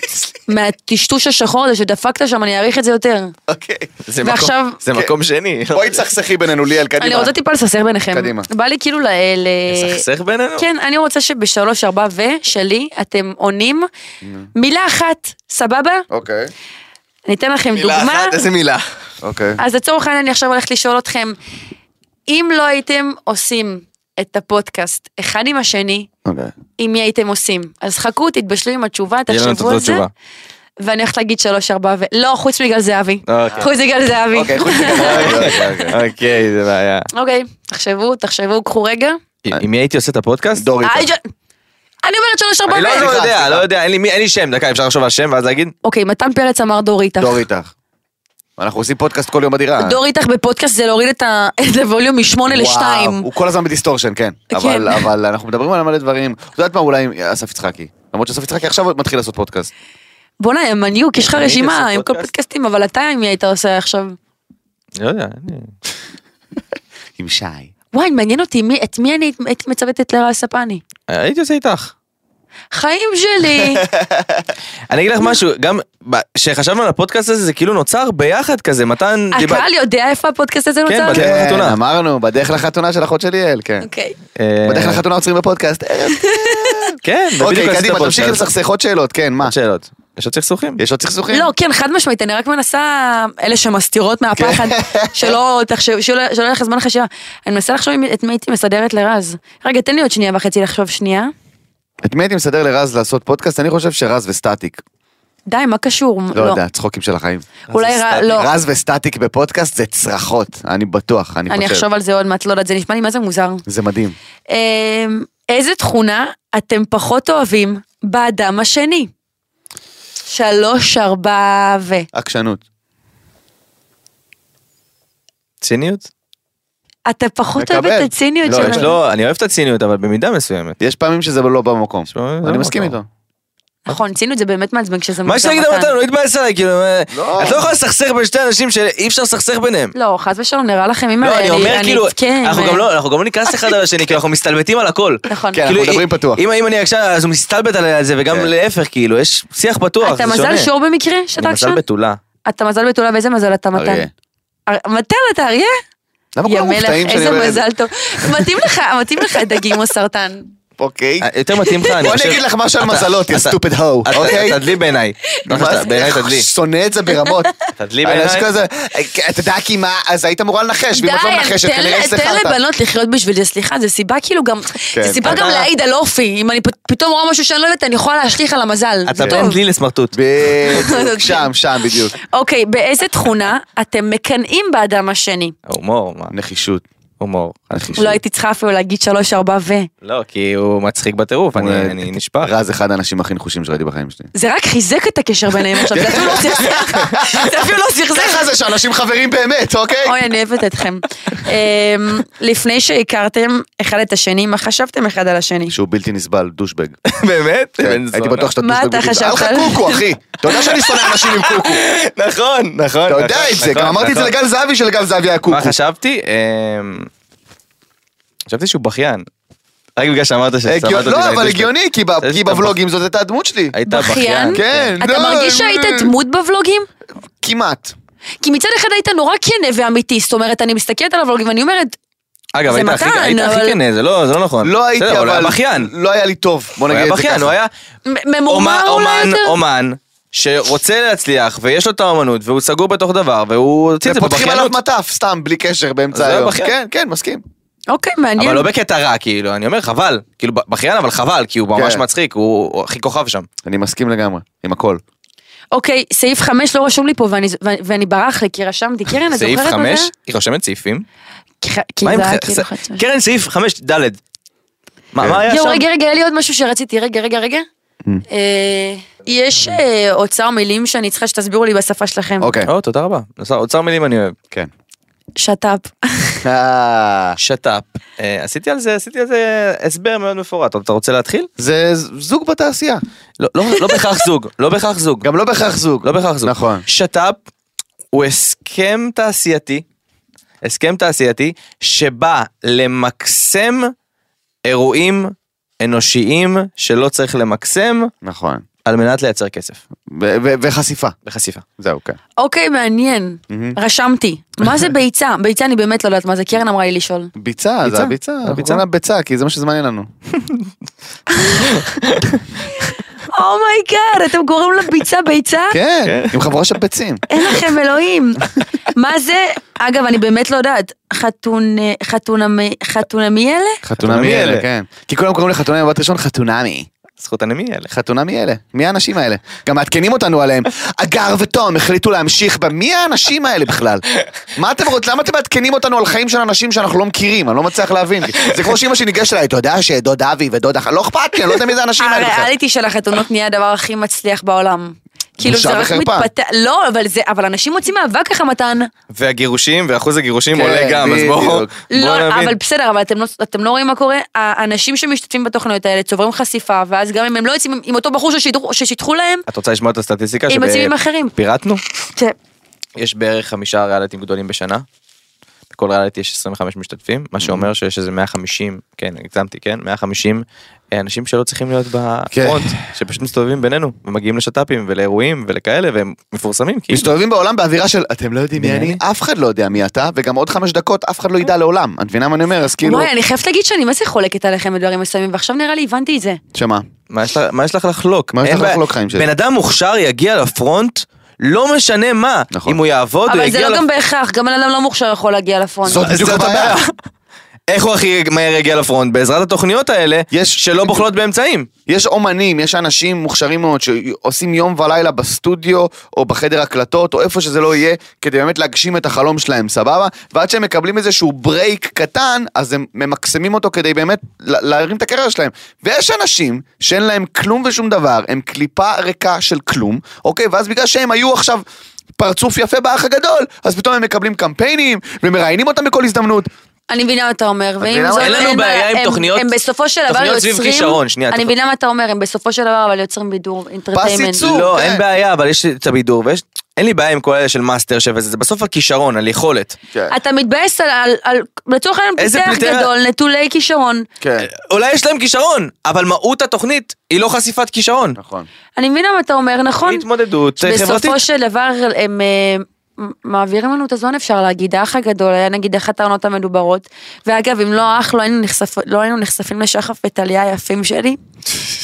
מהטשטוש השחור הזה שדפקת שם, אני אעריך את זה יותר.
אוקיי.
זה מקום-
ועכשיו- אה,
זה
כן.
מקום
(laughs)
שני.
בואי תסכסכי בינינו, ליאל, קדימה.
אני רוצה טיפה לסכסך ביניכם.
קדימה.
בא לי כאילו ל... ל-
סכסך בינינו?
כן, אני רוצה שבשלוש, ארבע ושלי אתם עונים מילה אחת, סבבה?
אוקיי.
אני אתן לכם
מילה
דוגמה.
אחת, איזה מילה.
אוקיי.
אז לצורך העניין אני עכשיו הולכת לשאול אתכם, אם לא הייתם עושים את הפודקאסט אחד עם השני,
אוקיי.
עם מי הייתם עושים? אז חכו, תתבשלו עם התשובה,
יהיה לנו את
תחשבו על
אותה
זה.
תשובה.
ואני הולכת להגיד שלוש, ארבע ו... לא, חוץ מגל זהבי.
אוקיי.
חוץ מגל זהבי.
אוקיי, חוץ מזה.
(laughs) אוקיי, זה בעיה.
(laughs) אוקיי, תחשבו, תחשבו, קחו רגע.
אה,
עם מי הייתי עושה את הפודקאסט?
דורית.
אה, ג'- אני אומרת שלוש, ארבע
אני לא
ו...
לא יודע, לא יודע, אין לי מי- אין לי שם, דקה, אפשר לחשוב על שם ואז להגיד?
אוקיי, מתן פרץ אמר דור איתך.
דור איתך. אנחנו עושים פודקאסט כל יום בדירה.
דור איתך בפודקאסט זה להוריד את ה- (laughs) את הווליום משמונה לשתיים.
וואו, הוא כל הזמן בדיסטורשן, כן. אבל, אבל אנחנו מדברים על מלא דברים. את יודעת מה, אולי אסף יצחקי. למרות שאסף יצחקי עכשיו מתחיל לעשות פודקאסט.
בואנה, הם מניוק, יש לך
אני הייתי
רשימה
עושה
עם כל
פודקאסט.
פודקאסטים, אבל אתה עם מי היית עושה עכשיו?
לא יודע, אין לי.
עם שי.
וואי, מעניין אותי, מי- את מי אני הייתי- הייתי מצוותת לרעל ספני?
הייתי עושה איתך.
חיים
(laughs)
שלי!
אני אגיד לך
לא.
משהו, גם ב- כשחשבנו על הפודקאסט הזה, זה כאילו נוצר ביחד כזה, מתן דיבר-
הקהל יודע איפה הפודקאסט הזה נוצר?
בדיוק.
כן,
לחתונה.
אמרנו, בדרך לחתונה של אחות של ליאל, כן.
אוקיי.
אה,
בדרך לחתונה עוצרים בפודקאסט. אה,
כן,
אוקיי,
בדיוק עשיתי
קדימה,
את
תמשיך עם
הפודקאסט. אוקיי.
סכסך עוד שאלות, כן, מה?
עוד שאלות. יש עוד סכסוכים?
יש עוד סכסוכים?
לא, כן, חד משמעית, אני רק מנסה, אלה שמסתירות מהפחד,
כן.
שלא תחשב, שלא שלא יהיה לך זמן חשיבה. אני מנסה לחשוב אם- את מי הייתי מסדרת לרז. רגע, תן לי עוד שנייה וחצי לחשוב שנייה.
את מי הייתי מסדר לרז לעשות פודקאסט? אני חושב שרז וסטטיק.
די, מה קשור?
לא יודע, צחוקים של החיים.
אולי, ר-
סטטיק.
לא.
רז וסטטיק בפודקאסט זה צרחות, אני בטוח, אני
אני
חושב.
אחשוב על זה עוד מעט, לא יודעת, זה נשמע לי מה זה מוזר.
זה מדהים.
אמ, איזה תכונה אתם פחות אוהבים באדם השני? שלוש, ארבע ו...
עקשנות.
ציניות?
אתה פחות אוהב
מקבל.
את הציניות
לא,
שלו.
יש
לא, אני אוהב את הציניות, אבל במידה מסוימת.
יש פעמים שזה לא במקום.
יש פעמים שזה
אני
לא
מסכים
במקום.
איתו.
נכון, ציניות זה באמת מעצבן כשזה
מה שתגיד
מתן.
על מתן, לא התבאס עליי, כאילו, אה,
לא.
את לא יכולה לסכסך בין שתי אנשים שאי אפשר לסכסך ביניהם.
לא, חס ושלום, נראה לכם, אם
לא, אני אומר כאילו,
כן,
אנחנו גם לא, אנחנו גם לא נכנס אחד על השני, כאילו אנחנו מסתלבטים על הכל.
נכון.
כן,
כאילו,
אנחנו מדברים
אם-
פתוח.
אם אם אני עכשיו, אז הוא מסתלבט עליי על זה, וגם
כן.
להפך, כאילו, יש שיח פתוח, זה
אתה
שונה.
מזל שור במקרה, שאתה
אני
עקשן?
מזל בתולה.
אתה מזל בתולה, ואיזה מזל אתה מתן?
אריה.
אר- מתן אתה אריה?
למה
יא
כולם
מלך,
מופתעים שאני
איזה
אומר את זה?
מזל טוב. מתאים לך, מתאים לך דגים או סרטן.
אוקיי.
אה, יותר מתאים לך, אני
בוא
חושב...
אני אגיד לך משהו על
אתה-
מזלות, יא
אתה-
סטופד הו.
אתה-
אוקיי?
אתה דלי בעיניי. לא חושב שאתה- בעיניי אתה דלי.
(laughs) שונא את זה ברמות.
תדלי
אנשים
בעיניי.
אה, כזה, אתה יודע כי מה, אז היית אמורה לנחש, ואם את לא מנחשת,
תן-
כנראה
תן
הסתכלת.
לבנות לחיות בשביל זה, סליחה, זה סיבה כאילו גם, זה
כן,
סיבה
אתה-
גם להעיד על אופי, אם אני פ- פתאום רואה משהו שאני לא יודעת, אני יכולה להשליך על המזל,
אתה
זה
בין
טוב.
דלי לסמרטוט.
(laughs)
בדיוק, שם, שם בדיוק.
אוקיי, באיזה תכונה אתם מקנאים באדם השני?
הומור, מה?
נחישות.
הומור.
לא הייתי צריכה אפילו להגיד שלוש, ארבע ו...
לא, כי הוא מצחיק בטירוף, אני- אני נשפע.
רז אחד האנשים הכי נחושים שראיתי בחיים שלי.
זה רק חיזק את הקשר ביניהם עכשיו, זה אפילו
(laughs)
לא סכסך, זה אפילו לא סכסך.
ככה זה שאנשים חברים באמת, אוקיי?
אוי, אני אוהבת אתכם. אמ, לפני שהכרתם אחד את השני, מה חשבתם אחד על השני?
שהוא בלתי נסבל,
(laughs)
דושבג.
באמת?
כן,
בן
הייתי
זונה.
בטוח שאתה
מה
דושבג.
אתה
בלתי נסבל.
חשבת?
היה לך קוקו, אחי. אתה יודע שאני שונא אנשים עם
(laughs)
קוקו.
נכון, נכון.
אתה יודע את זה, גם אמרתי את זה לגל זהבי, שלגל זהבי היה קוקו.
מה חשבתי? אמ, חשבתי שהוא בכיין. רק בגלל שאמרת שסמלת
הגיוני-
אותי.
לא,
להגיד
אבל
שאתה-
הגיוני, כי ב- כי
שאתה-
בוולוגים זאת הייתה הדמות שלי.
היית
בכיין?
בכיין.
כן.
אתה
לא,
מרגיש שהיית דמות בוולוגים?
כמעט.
כי מצד אחד היית נורא כנה ואמיתי, זאת אומרת, אני מסתכלת על הוולוגים ואני אומרת,
אגב,
זה
היית הכי
מתן,
היית הכי
אבל-
כנה, זה לא זה לא נכון.
לא הייתי,
בסדר, הוא
אבל...
היה בכיין.
לא היה לי טוב, בוא
הוא
נגיד
היה
את זה
בכיין, הוא
ככה.
היה
"מ-
אומן,
ממורמר אולי
אומן,
יותר?
אומן, שרוצה להצליח, ויש לו את האומנות, והוא סגור בתוך דבר, והוא הוציא את זה
ופותחים עליו
בבכיינות.
מטף, סתם, בלי קשר,
זה
באמצע
היה
היום.
בכיין.
כן, כן, מסכים.
אוקיי, מעניין.
אבל לא בקטע רע, כאילו, אני אומר חבל. כאילו, ב- בכיין אבל חבל, כי הוא ממש
כן.
מצחיק, הוא הוא הכי כוכב שם.
אני מסכים לגמרי, עם הכל.
אוקיי, סעיף 5 לא רשום לי פה ואני- ואני- ואני ברח לי, כי רשמתי, קרן, כן, את זוכרת
סעיף
מה זה?
חמש, היא רושמת סעיפים.
כי ח- כי
מה עם
זה היה
ח-
כאילו
ס-
חצי.
קרן סעיף חמש ד'. מה מה היה שם? Mm.
יואו, רגע, רגע, היה לי עוד משהו שרציתי, רגע, רגע, רגע. אה, יש אה, אוצר מילים שאני צריכה שתסבירו לי בשפה שלכם.
אוקיי.
או, אה, תודה רבה. עשה- אוצר מילים אני אוהב.
כן. (laughs)
שת"פ. (laughs)
אה,
שת"פ. אה, עשיתי על זה, עשיתי על זה הסבר מאוד מפורט. אתה רוצה להתחיל?
זה זוג בתעשייה.
לא- לא לא בהכרח זוג, לא בהכרח זוג.
גם לא בהכרח זוג.
לא בהכרח זוג.
נכון.
שת"פ הוא הסכם תעשייתי, הסכם תעשייתי שבא למקסם אירועים אנושיים שלא צריך למקסם
נכון.
על מנת לייצר כסף.
ו- ו- וחשיפה.
בחשיפה.
זהו, כן.
אוקיי, מעניין.
Mm-hmm.
רשמתי. מה זה ביצה? ביצה אני באמת לא יודעת מה זה, קרן אמרה לי לשאול.
ביצה,
ביצה. נכון.
זה הביצה.
הביצה.
אנחנו קוראים לה ביצה, כי זה מה שזמן אין לנו.
אומייגאד, Oh אתם קוראים לה ביצה ביצה?
כן, עם חבורה של ביצים.
אין לכם אלוהים. מה זה? אגב, אני באמת לא יודעת. חתון... חתונמי... חתונמי אלה?
חתונמי אלה, כן. כי כולם קוראים לחתונמי בבת ראשון חתונמי.
זכות הנמי אלה.
חתונמי אלה, מי האנשים האלה? גם מעדכנים אותנו (laughs) עליהם. הגר ותום החליטו להמשיך ב... מי האנשים האלה (laughs) בכלל? מה אתם רוצים? למה אתם מעדכנים אותנו על חיים של אנשים שאנחנו לא מכירים? אני לא מצליח (laughs) להבין. זה כמו שאימא שלי ניגשת אליי, אתה יודע שדוד אבי ודוד אח... לא אכפת לי, אני לא יודע מי זה האנשים (laughs) האלה בכלל.
הריאליטי של החתונות נהיה הדבר הכי מצליח בעולם. כאילו
בושה
זה רק
וחרפה.
מתפתח, לא, אבל זה, אבל אנשים מוצאים מאבק ככה מתן.
והגירושים, ואחוז הגירושים
כן,
עולה גם, אז בואו
בדיוק.
בואו
לא,
נבין.
אבל בסדר, אבל אתם לא, אתם לא רואים מה קורה? האנשים שמשתתפים בתוכניות האלה צוברים חשיפה, ואז גם אם הם לא יוצאים עם- עם אותו בחור ששידרו- ששיתחו להם,
את רוצה לשמוע את הסטטיסטיקה?
עם
שב-
הצימים אחרים.
פירטנו?
זה-
יש בערך חמישה ריאליטים גדולים בשנה. בכל ריאליטי יש 25 משתתפים, מה שאומר שיש איזה 150, כן, הגזמתי, כן, 150 אה, אנשים שלא צריכים להיות בפרונט, שפשוט מסתובבים בינינו, ומגיעים לשת"פים ולאירועים ולכאלה, והם מפורסמים, כי
מסתובבים בעולם באווירה של אתם לא יודעים מי
מי
אני, אף אחד לא יודע מי אתה, וגם עוד חמש דקות אף אחד לא ידע לעולם. את מבינה מה אני אומר? אז כאילו,
וואי, אני חייבת להגיד שאני מה זה חולקת עליכם בדברים מסוימים, ועכשיו נראה לי הבנתי את זה.
שמה?
מה יש לך- מה יש לך לחלוק?
מה יש
אין
לך
בעיה.
לחלוק, חיים שלי?
בן אדם מוכשר יגיע לפרונט, לא משנה מה,
נכון.
אם הוא יעבוד, הוא
אבל זה
יגיע
לא
לפרונט.
גם בהכרח, גם בן אדם לא מוכשר יכול להגיע לפרונט.
זאת בדיוק
זאת
הבעיה.
הבעיה. איך הוא הכי מהר יגיע לפרונט? בעזרת התוכניות האלה,
יש-
שלא בוחלות באמצעים.
יש אומנים, יש אנשים מוכשרים מאוד שעושים יום ולילה בסטודיו או בחדר הקלטות או איפה שזה לא יהיה כדי באמת להגשים את החלום שלהם, סבבה? ועד שהם מקבלים איזשהו ברייק קטן, אז הם ממקסמים אותו כדי באמת לה- להרים את הקריירה שלהם. ויש אנשים שאין להם כלום ושום דבר, הם קליפה ריקה של כלום, אוקיי? ואז בגלל שהם היו עכשיו פרצוף יפה באח הגדול, אז פתאום הם מקבלים קמפיינים ומראיינים אותם בכל הזדמנות.
אני מבינה מה אתה אומר, ועם
מבינה מה-
זאת,
אין לנו
אין
בעיה
בעיה,
עם
הם-
תוכניות-
הם בסופו של דבר
תוכניות סביב
יוצרים,
כישרון, שנייה,
אני
תוכניות-
מבינה מה אתה אומר, הם בסופו של דבר אבל יוצרים בידור, אינטרטיימנט.
ייצור.
לא,
כן.
אין בעיה, אבל יש את הבידור, ויש... אין לי בעיה עם כל אלה של מאסטר שף, וזה זה בסוף הכישרון, על יכולת.
אתה מתבאס על, על, על לצורך העניין,
כן. איזה
פיתח
פליטי-
גדול, נטולי כישרון.
כן,
אולי יש להם כישרון, אבל מהות התוכנית היא לא חשיפת כישרון.
נכון.
אני מבינה מה אתה אומר, נכון?
התמודדות אה, חברתית.
בסופו של דבר הם אה, מ- מעבירים לנו את הזמן אפשר להגיד, האח הגדול היה נגיד אחת העונות המדוברות, ואגב אם לא האח לא היינו, נחשפ, לא היינו נחשפים לשחף וטליה היפים
(laughs)
שלי,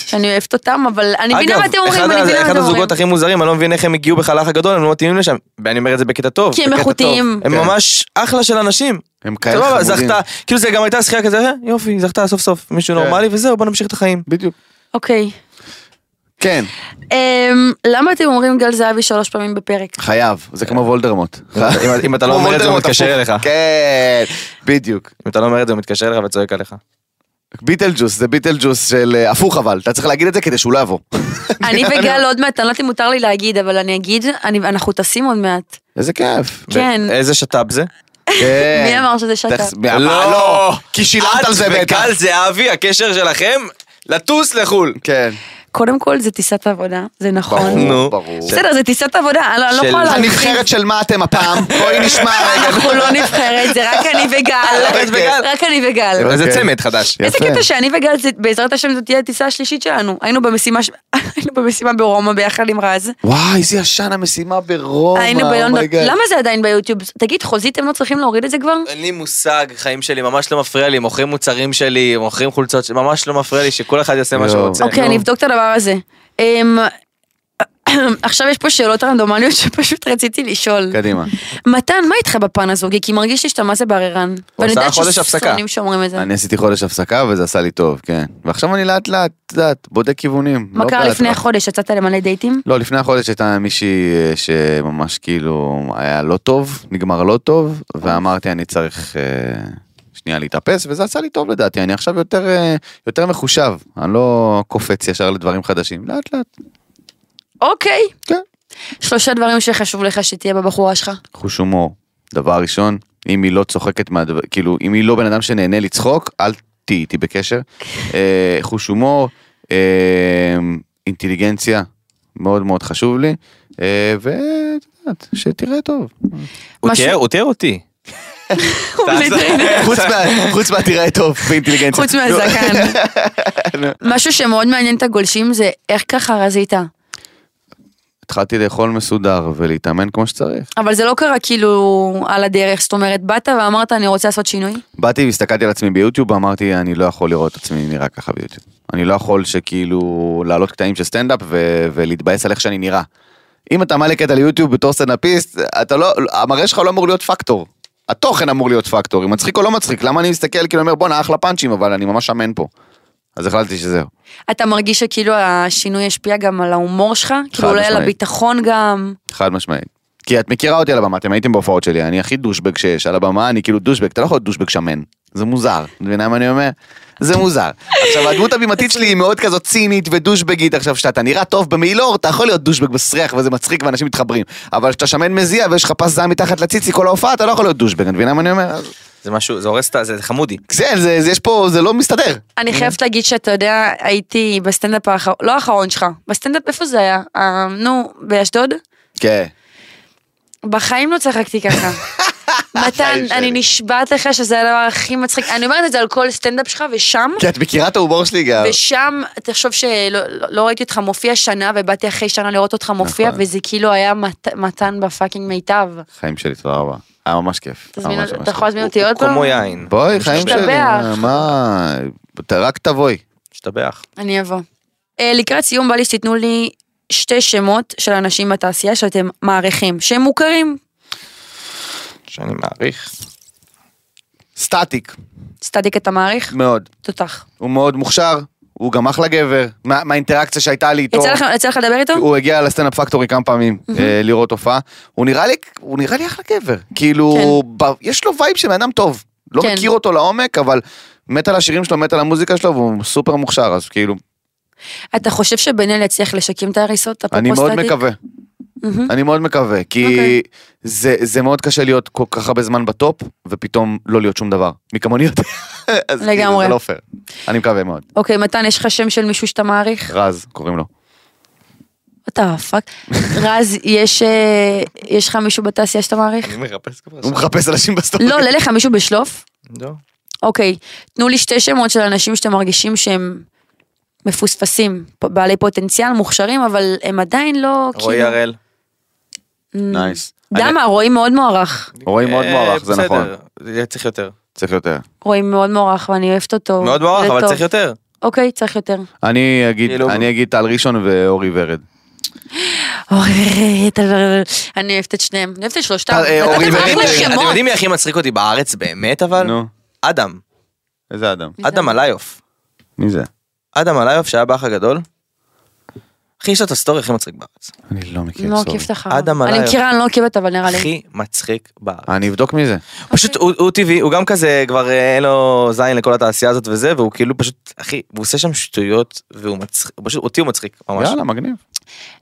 שאני אוהבת אותם, אבל אני מבינה מה אתם אומרים,
אחד
אני
ה-
מבינה מה
אחד
אתם אומרים.
הזוגות הכי מוזרים, אני לא מבין איך הם הגיעו בכלל לאח הגדול, הם לא מתאימים לשם. אני אומר את זה בקטע טוב.
כי הם
בקטע
איכותיים.
טוב. הם
כן.
ממש אחלה של אנשים.
הם כאלה
סבבה,
חמודים.
זכתה, כאילו זה גם הייתה שחייה כזה, "אה, יופי, זכתה סוף סוף מישהו
כן.
נורמלי וזהו, בוא נמשיך את החיים.
בדיוק.
אוקיי.
כן.
אמ, למה אתם אומרים גל זהבי שלוש פעמים
(laughs)
בפרק?
חייב, זה כמו וולדרמוט.
אם- אם אתה לא
כמו
אומר את זה, הוא
וולדרמוט
מתקשר
הפוך.
אליך.
כן, בדיוק.
אם אתה לא אומר את זה, הוא מתקשר אליך וצועק עליך.
ביטלג'וס, זה ביטלג'וס של אה, הפוך אבל, אתה צריך להגיד את זה כדי שהוא לא יבוא.
אני וגל עוד מעט, אני לא יודעת אם מותר לי להגיד, אבל אני אגיד, אני- אנחנו טסים עוד מעט.
איזה כיף.
כן.
איזה שת"פ זה?
כן.
מי אמר שזה שת"פ?
תכף- מי אמר? לא, כי שילמת על זה בטח.
וגל זהבי, הקשר שלכם, לטוס לחו"ל.
כן.
קודם כל זה טיסת עבודה, זה נכון.
ברור,
נו.
ברור.
בסדר, זה טיסת עבודה, אני לא- אני לא
של-
יכולה להרחיב.
הנבחרת של מה
(laughs)
אתם הפעם? בואי נשמע רגע.
אנחנו לא נבחרת, זה רק אני
רק את
וגל.
וגל.
רק אני וגל.
איזה
אוקיי.
צמד חדש.
איזה
יפה.
קטע שאני וגל, זה- בעזרת השם זאת תהיה הטיסה השלישית שלנו. היינו במשימה, ש- (laughs) היינו במשימה ברומא ביחד עם רז.
וואי, איזה ישן המשימה ברומא.
היינו בלונדון.
אומייגאד.
למה זה עדיין ביוטיוב? תגיד, חוזית, הם לא צריכים להוריד את זה כבר?
אין לי מושג, חיים שלי ממש לא מפריע לי, מוכרים מוצרים שלי, מוכרים חולצות, שלי, ממש לא מפריע לי שכל אחד יעשה מה שהוא
יואו.
רוצה. לא.
אוקיי,
נו.
אני אבדוק את הדבר הזה. אמ, (clears throat) עכשיו יש פה שאלות רנדומליות שפשוט רציתי לשאול.
קדימה.
מתן, מה איתך בפן הזוגי? כי מרגיש לי שאתה מה זה בררן. ואני
עשה
יודעת
חודש הפסקה.
ששונאים שאומרים את זה.
אני עשיתי חודש הפסקה וזה עשה לי טוב, כן. ועכשיו אני לאט לאט, את יודעת, בודק כיוונים.
מה
לא
קרה
בעט
לפני
לך.
חודש? יצאת למלא דייטים?
לא, לפני החודש הייתה מישהי אה, שממש כאילו היה לא טוב, נגמר לא טוב, ואמרתי אני צריך אה, שנייה להתאפס, וזה עשה לי טוב לדעתי, אני עכשיו יותר, אה, יותר מחושב, אני לא קופץ ישר לדברים חדשים, לאט לאט,
אוקיי.
כן.
שלושה דברים שחשוב לך שתהיה בבחורה שלך.
חוש הומור. דבר ראשון, אם היא לא צוחקת מהדבר, כאילו, אם היא לא בן אדם שנהנה לצחוק, אל תהיי איתי בקשר. אה, חוש הומור, אה, אינטליגנציה, מאוד מאוד חשוב לי, אה, ואת יודעת, שתראה טוב.
הוא
משהו-
תיאר- הוא תיאר אותי.
חוץ מה- חוץ מהתראה טוב באינטליגנציה. לא,
חוץ מהזקן.
(laughs)
משהו שמאוד מעניין את הגולשים זה איך ככה רזית.
התחלתי לאכול מסודר ולהתאמן כמו שצריך.
אבל זה לא קרה כאילו על הדרך, זאת אומרת, באת ואמרת אני רוצה לעשות שינוי?
באתי והסתכלתי על עצמי ביוטיוב ואמרתי אני לא יכול לראות את עצמי נראה ככה ביוטיוב. אני לא יכול שכאילו להעלות קטעים של סטנדאפ ו- ולהתבאס על איך שאני נראה. אם אתה מעלה קטע ליוטיוב בתור סטנדאפיסט, אתה לא, המראה שלך לא אמור להיות פקטור. התוכן אמור להיות פקטור, אם מצחיק או לא מצחיק, למה אני מסתכל כאילו אומר בואנה אחלה פאנצ'ים אבל אני ממש שמן פה. אז החלטתי שזהו.
אתה מרגיש שכאילו השינוי ישפיע גם על ההומור שלך? כאילו אולי על
משמעית.
הביטחון גם?
חד משמעית. כי את מכירה אותי על הבמה, אתם הייתם בהופעות שלי, אני הכי דושבג שיש, על הבמה אני כאילו דושבג, אתה לא יכול להיות דושבג שמן, זה מוזר, את מבינה מה אני אומר? זה מוזר. עכשיו הדמות הבימתית שלי היא מאוד כזאת צינית ודושבגית, עכשיו כשאתה נראה טוב במילור, אתה יכול להיות דושבג מסריח וזה מצחיק ואנשים מתחברים, אבל כשאתה שמן מזיע ויש לך פס זעם מתחת לציצי כל ההופעה, אתה לא יכול להיות דושבג, את מבינה מה אני אומר? אז-
זה משהו, זה הורס את ה... זה זה חמודי.
זה, זה, זה, יש פה, זה לא מסתדר.
אני חייבת להגיד שאתה יודע, הייתי בסטנדאפ האחרון, לא האחרון שלך, בסטנדאפ איפה זה היה? אה, נו, באשדוד?
כן.
בחיים לא צחקתי
(laughs)
ככה. מתן,
החיים שלי.
אני נשבעת לך שזה הדבר הכי מצחיק, אני אומרת את זה על כל סטנדאפ שלך, ושם,
כי את מכירה את ההומור שלי גם.
ושם, תחשוב שלא לא- לא ראיתי אותך מופיע שנה, ובאתי אחרי שנה לראות אותך מופיע,
נכון.
וזה כאילו היה מת- מתן בפאקינג מיטב.
חיים שלי, תודה רבה. היה ממש כיף.
תזמין
ממש,
אותי-
ממש
אתה יכול
כיף.
להזמין אותי עוד פעם?
כמו יין.
בואי, חיים שלי,
משתבח.
מה, אתה רק תבואי.
משתבח.
אני אבוא. אה, לקראת סיום בא לי שתיתנו לי שתי שמות של אנשים בתעשייה שאתם מעריכים, שהם מוכרים.
שאני מעריך.
סטטיק,
סטטיק אתה מעריך?
מאוד.
תותח.
הוא מאוד מוכשר, הוא גם אחלה גבר. מה- מהאינטראקציה שהייתה
לא.
לי איתו,
יצא לך- יצא לך לדבר איתו?
הוא הגיע לסטנדאפ פקטורי כמה פעמים אה, לראות הופעה. הוא נראה לי, הוא נראה לי אחלה גבר. כאילו, ב- יש לו וייב של בן אדם טוב. לא
כן.
מכיר אותו לעומק, אבל מת על השירים שלו, מת על המוזיקה שלו, והוא סופר מוכשר, אז כאילו,
אתה חושב שבן-אל יצליח לשקים את ההריסות? אפרופו
אני מאוד
סטטיק?
מקווה.
אוקיי, מהמם.
אני מאוד מקווה, כי
אוקיי.
זה זה מאוד קשה להיות כל כך הרבה זמן בטופ, ופתאום לא להיות שום דבר. מי כמוני יודע. (laughs) אז כאילו,
לגמרי.
זה לא פייר. אני מקווה מאוד.
אוקיי, מתן, יש לך שם של מישהו שאתה מעריך?
רז, קוראים לו.
אתה
(laughs)
פאק. רז, יש אה, יש לך מישהו בתעשייה שאתה מעריך?
אני מחפש כבר
הוא מחפש אנשים בסטורי.
(laughs)
לא, עולה לך מישהו בשלוף?
לא.
אוקיי, תנו לי שתי שמות של אנשים שאתם מרגישים שהם מפוספסים, פ- בעלי פוטנציאל, מוכשרים, אבל הם עדיין לא...
רועי
כאילו-
הראל.
נייס.
דמה, רועי מאוד מוערך.
רואים מאוד
אה,
מוערך, זה
בסדר.
נכון.
זה צריך יותר.
צריך יותר.
רועי מאוד מוערך ואני אוהבת אותו.
מאוד מוערך,
ילד
אבל
טוב.
צריך יותר.
אוקיי, צריך יותר.
אני אגיד,
כאילו-
אני אגיד טל ראשון ואורי ורד.
אוי, אתה- אני אוהבת את שניהם, אני אוהבת את שלושתם.
אה, אה, אורי
נתתם
ורד.
אחלה
אתם
אתם
שמות.
יודעים מי הכי מצחיק אותי בארץ באמת אבל?
נו.
אדם.
איזה אדם?
אדם עליוף.
מי זה?
אדם עליוף שהיה באח הגדול. אחי יש לו את הסטורי הכי מצחיק בארץ.
אני לא מכיר,
נו,
סורי.
כיף לך.
אדם
אני
עליי.
מכירה, אני לא עוקבת, אבל נראה לי.
הכי מצחיק בארץ.
אני אבדוק מי זה.
פשוט הוא הוא טבעי, הוא גם כזה כבר אה, אין לו זין לכל התעשייה הזאת וזה, והוא כאילו פשוט, אחי, הוא עושה שם שטויות, והוא מצחיק, הוא פשוט, אותי הוא מצחיק, ממש. (laughs)
יאללה, מגניב.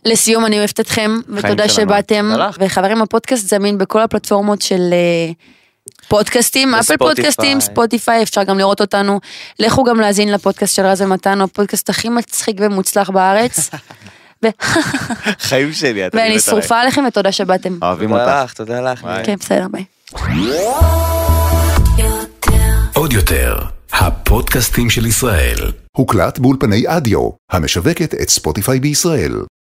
לסיום, אני אוהבת אתכם, ותודה
שלנו.
שבאתם.
תודה לך.
וחברים, הפודקאסט זמין בכל הפלטפורמות של אה, פודקאסטים, אפל
בספוטיפיי.
פודקאסטים, ספוטיפיי, אפשר גם לראות אותנו. לכו גם להאזין לפודקאסט של רז ומתן, הוא הפודקאסט הכי מצחיק ומוצלח בארץ.
(laughs)
ו- (laughs)
חיים שלי, אתה
ואני שרופה עליכם, ותודה שבאתם.
אוהבים
תודה
אותך.
לך, תודה לך.
כן, בסדר, ביי.
עוד יותר, הפודקאסטים של ישראל.
הוקלט באולפני אדיו, המשווקת את ספוטיפיי בישראל.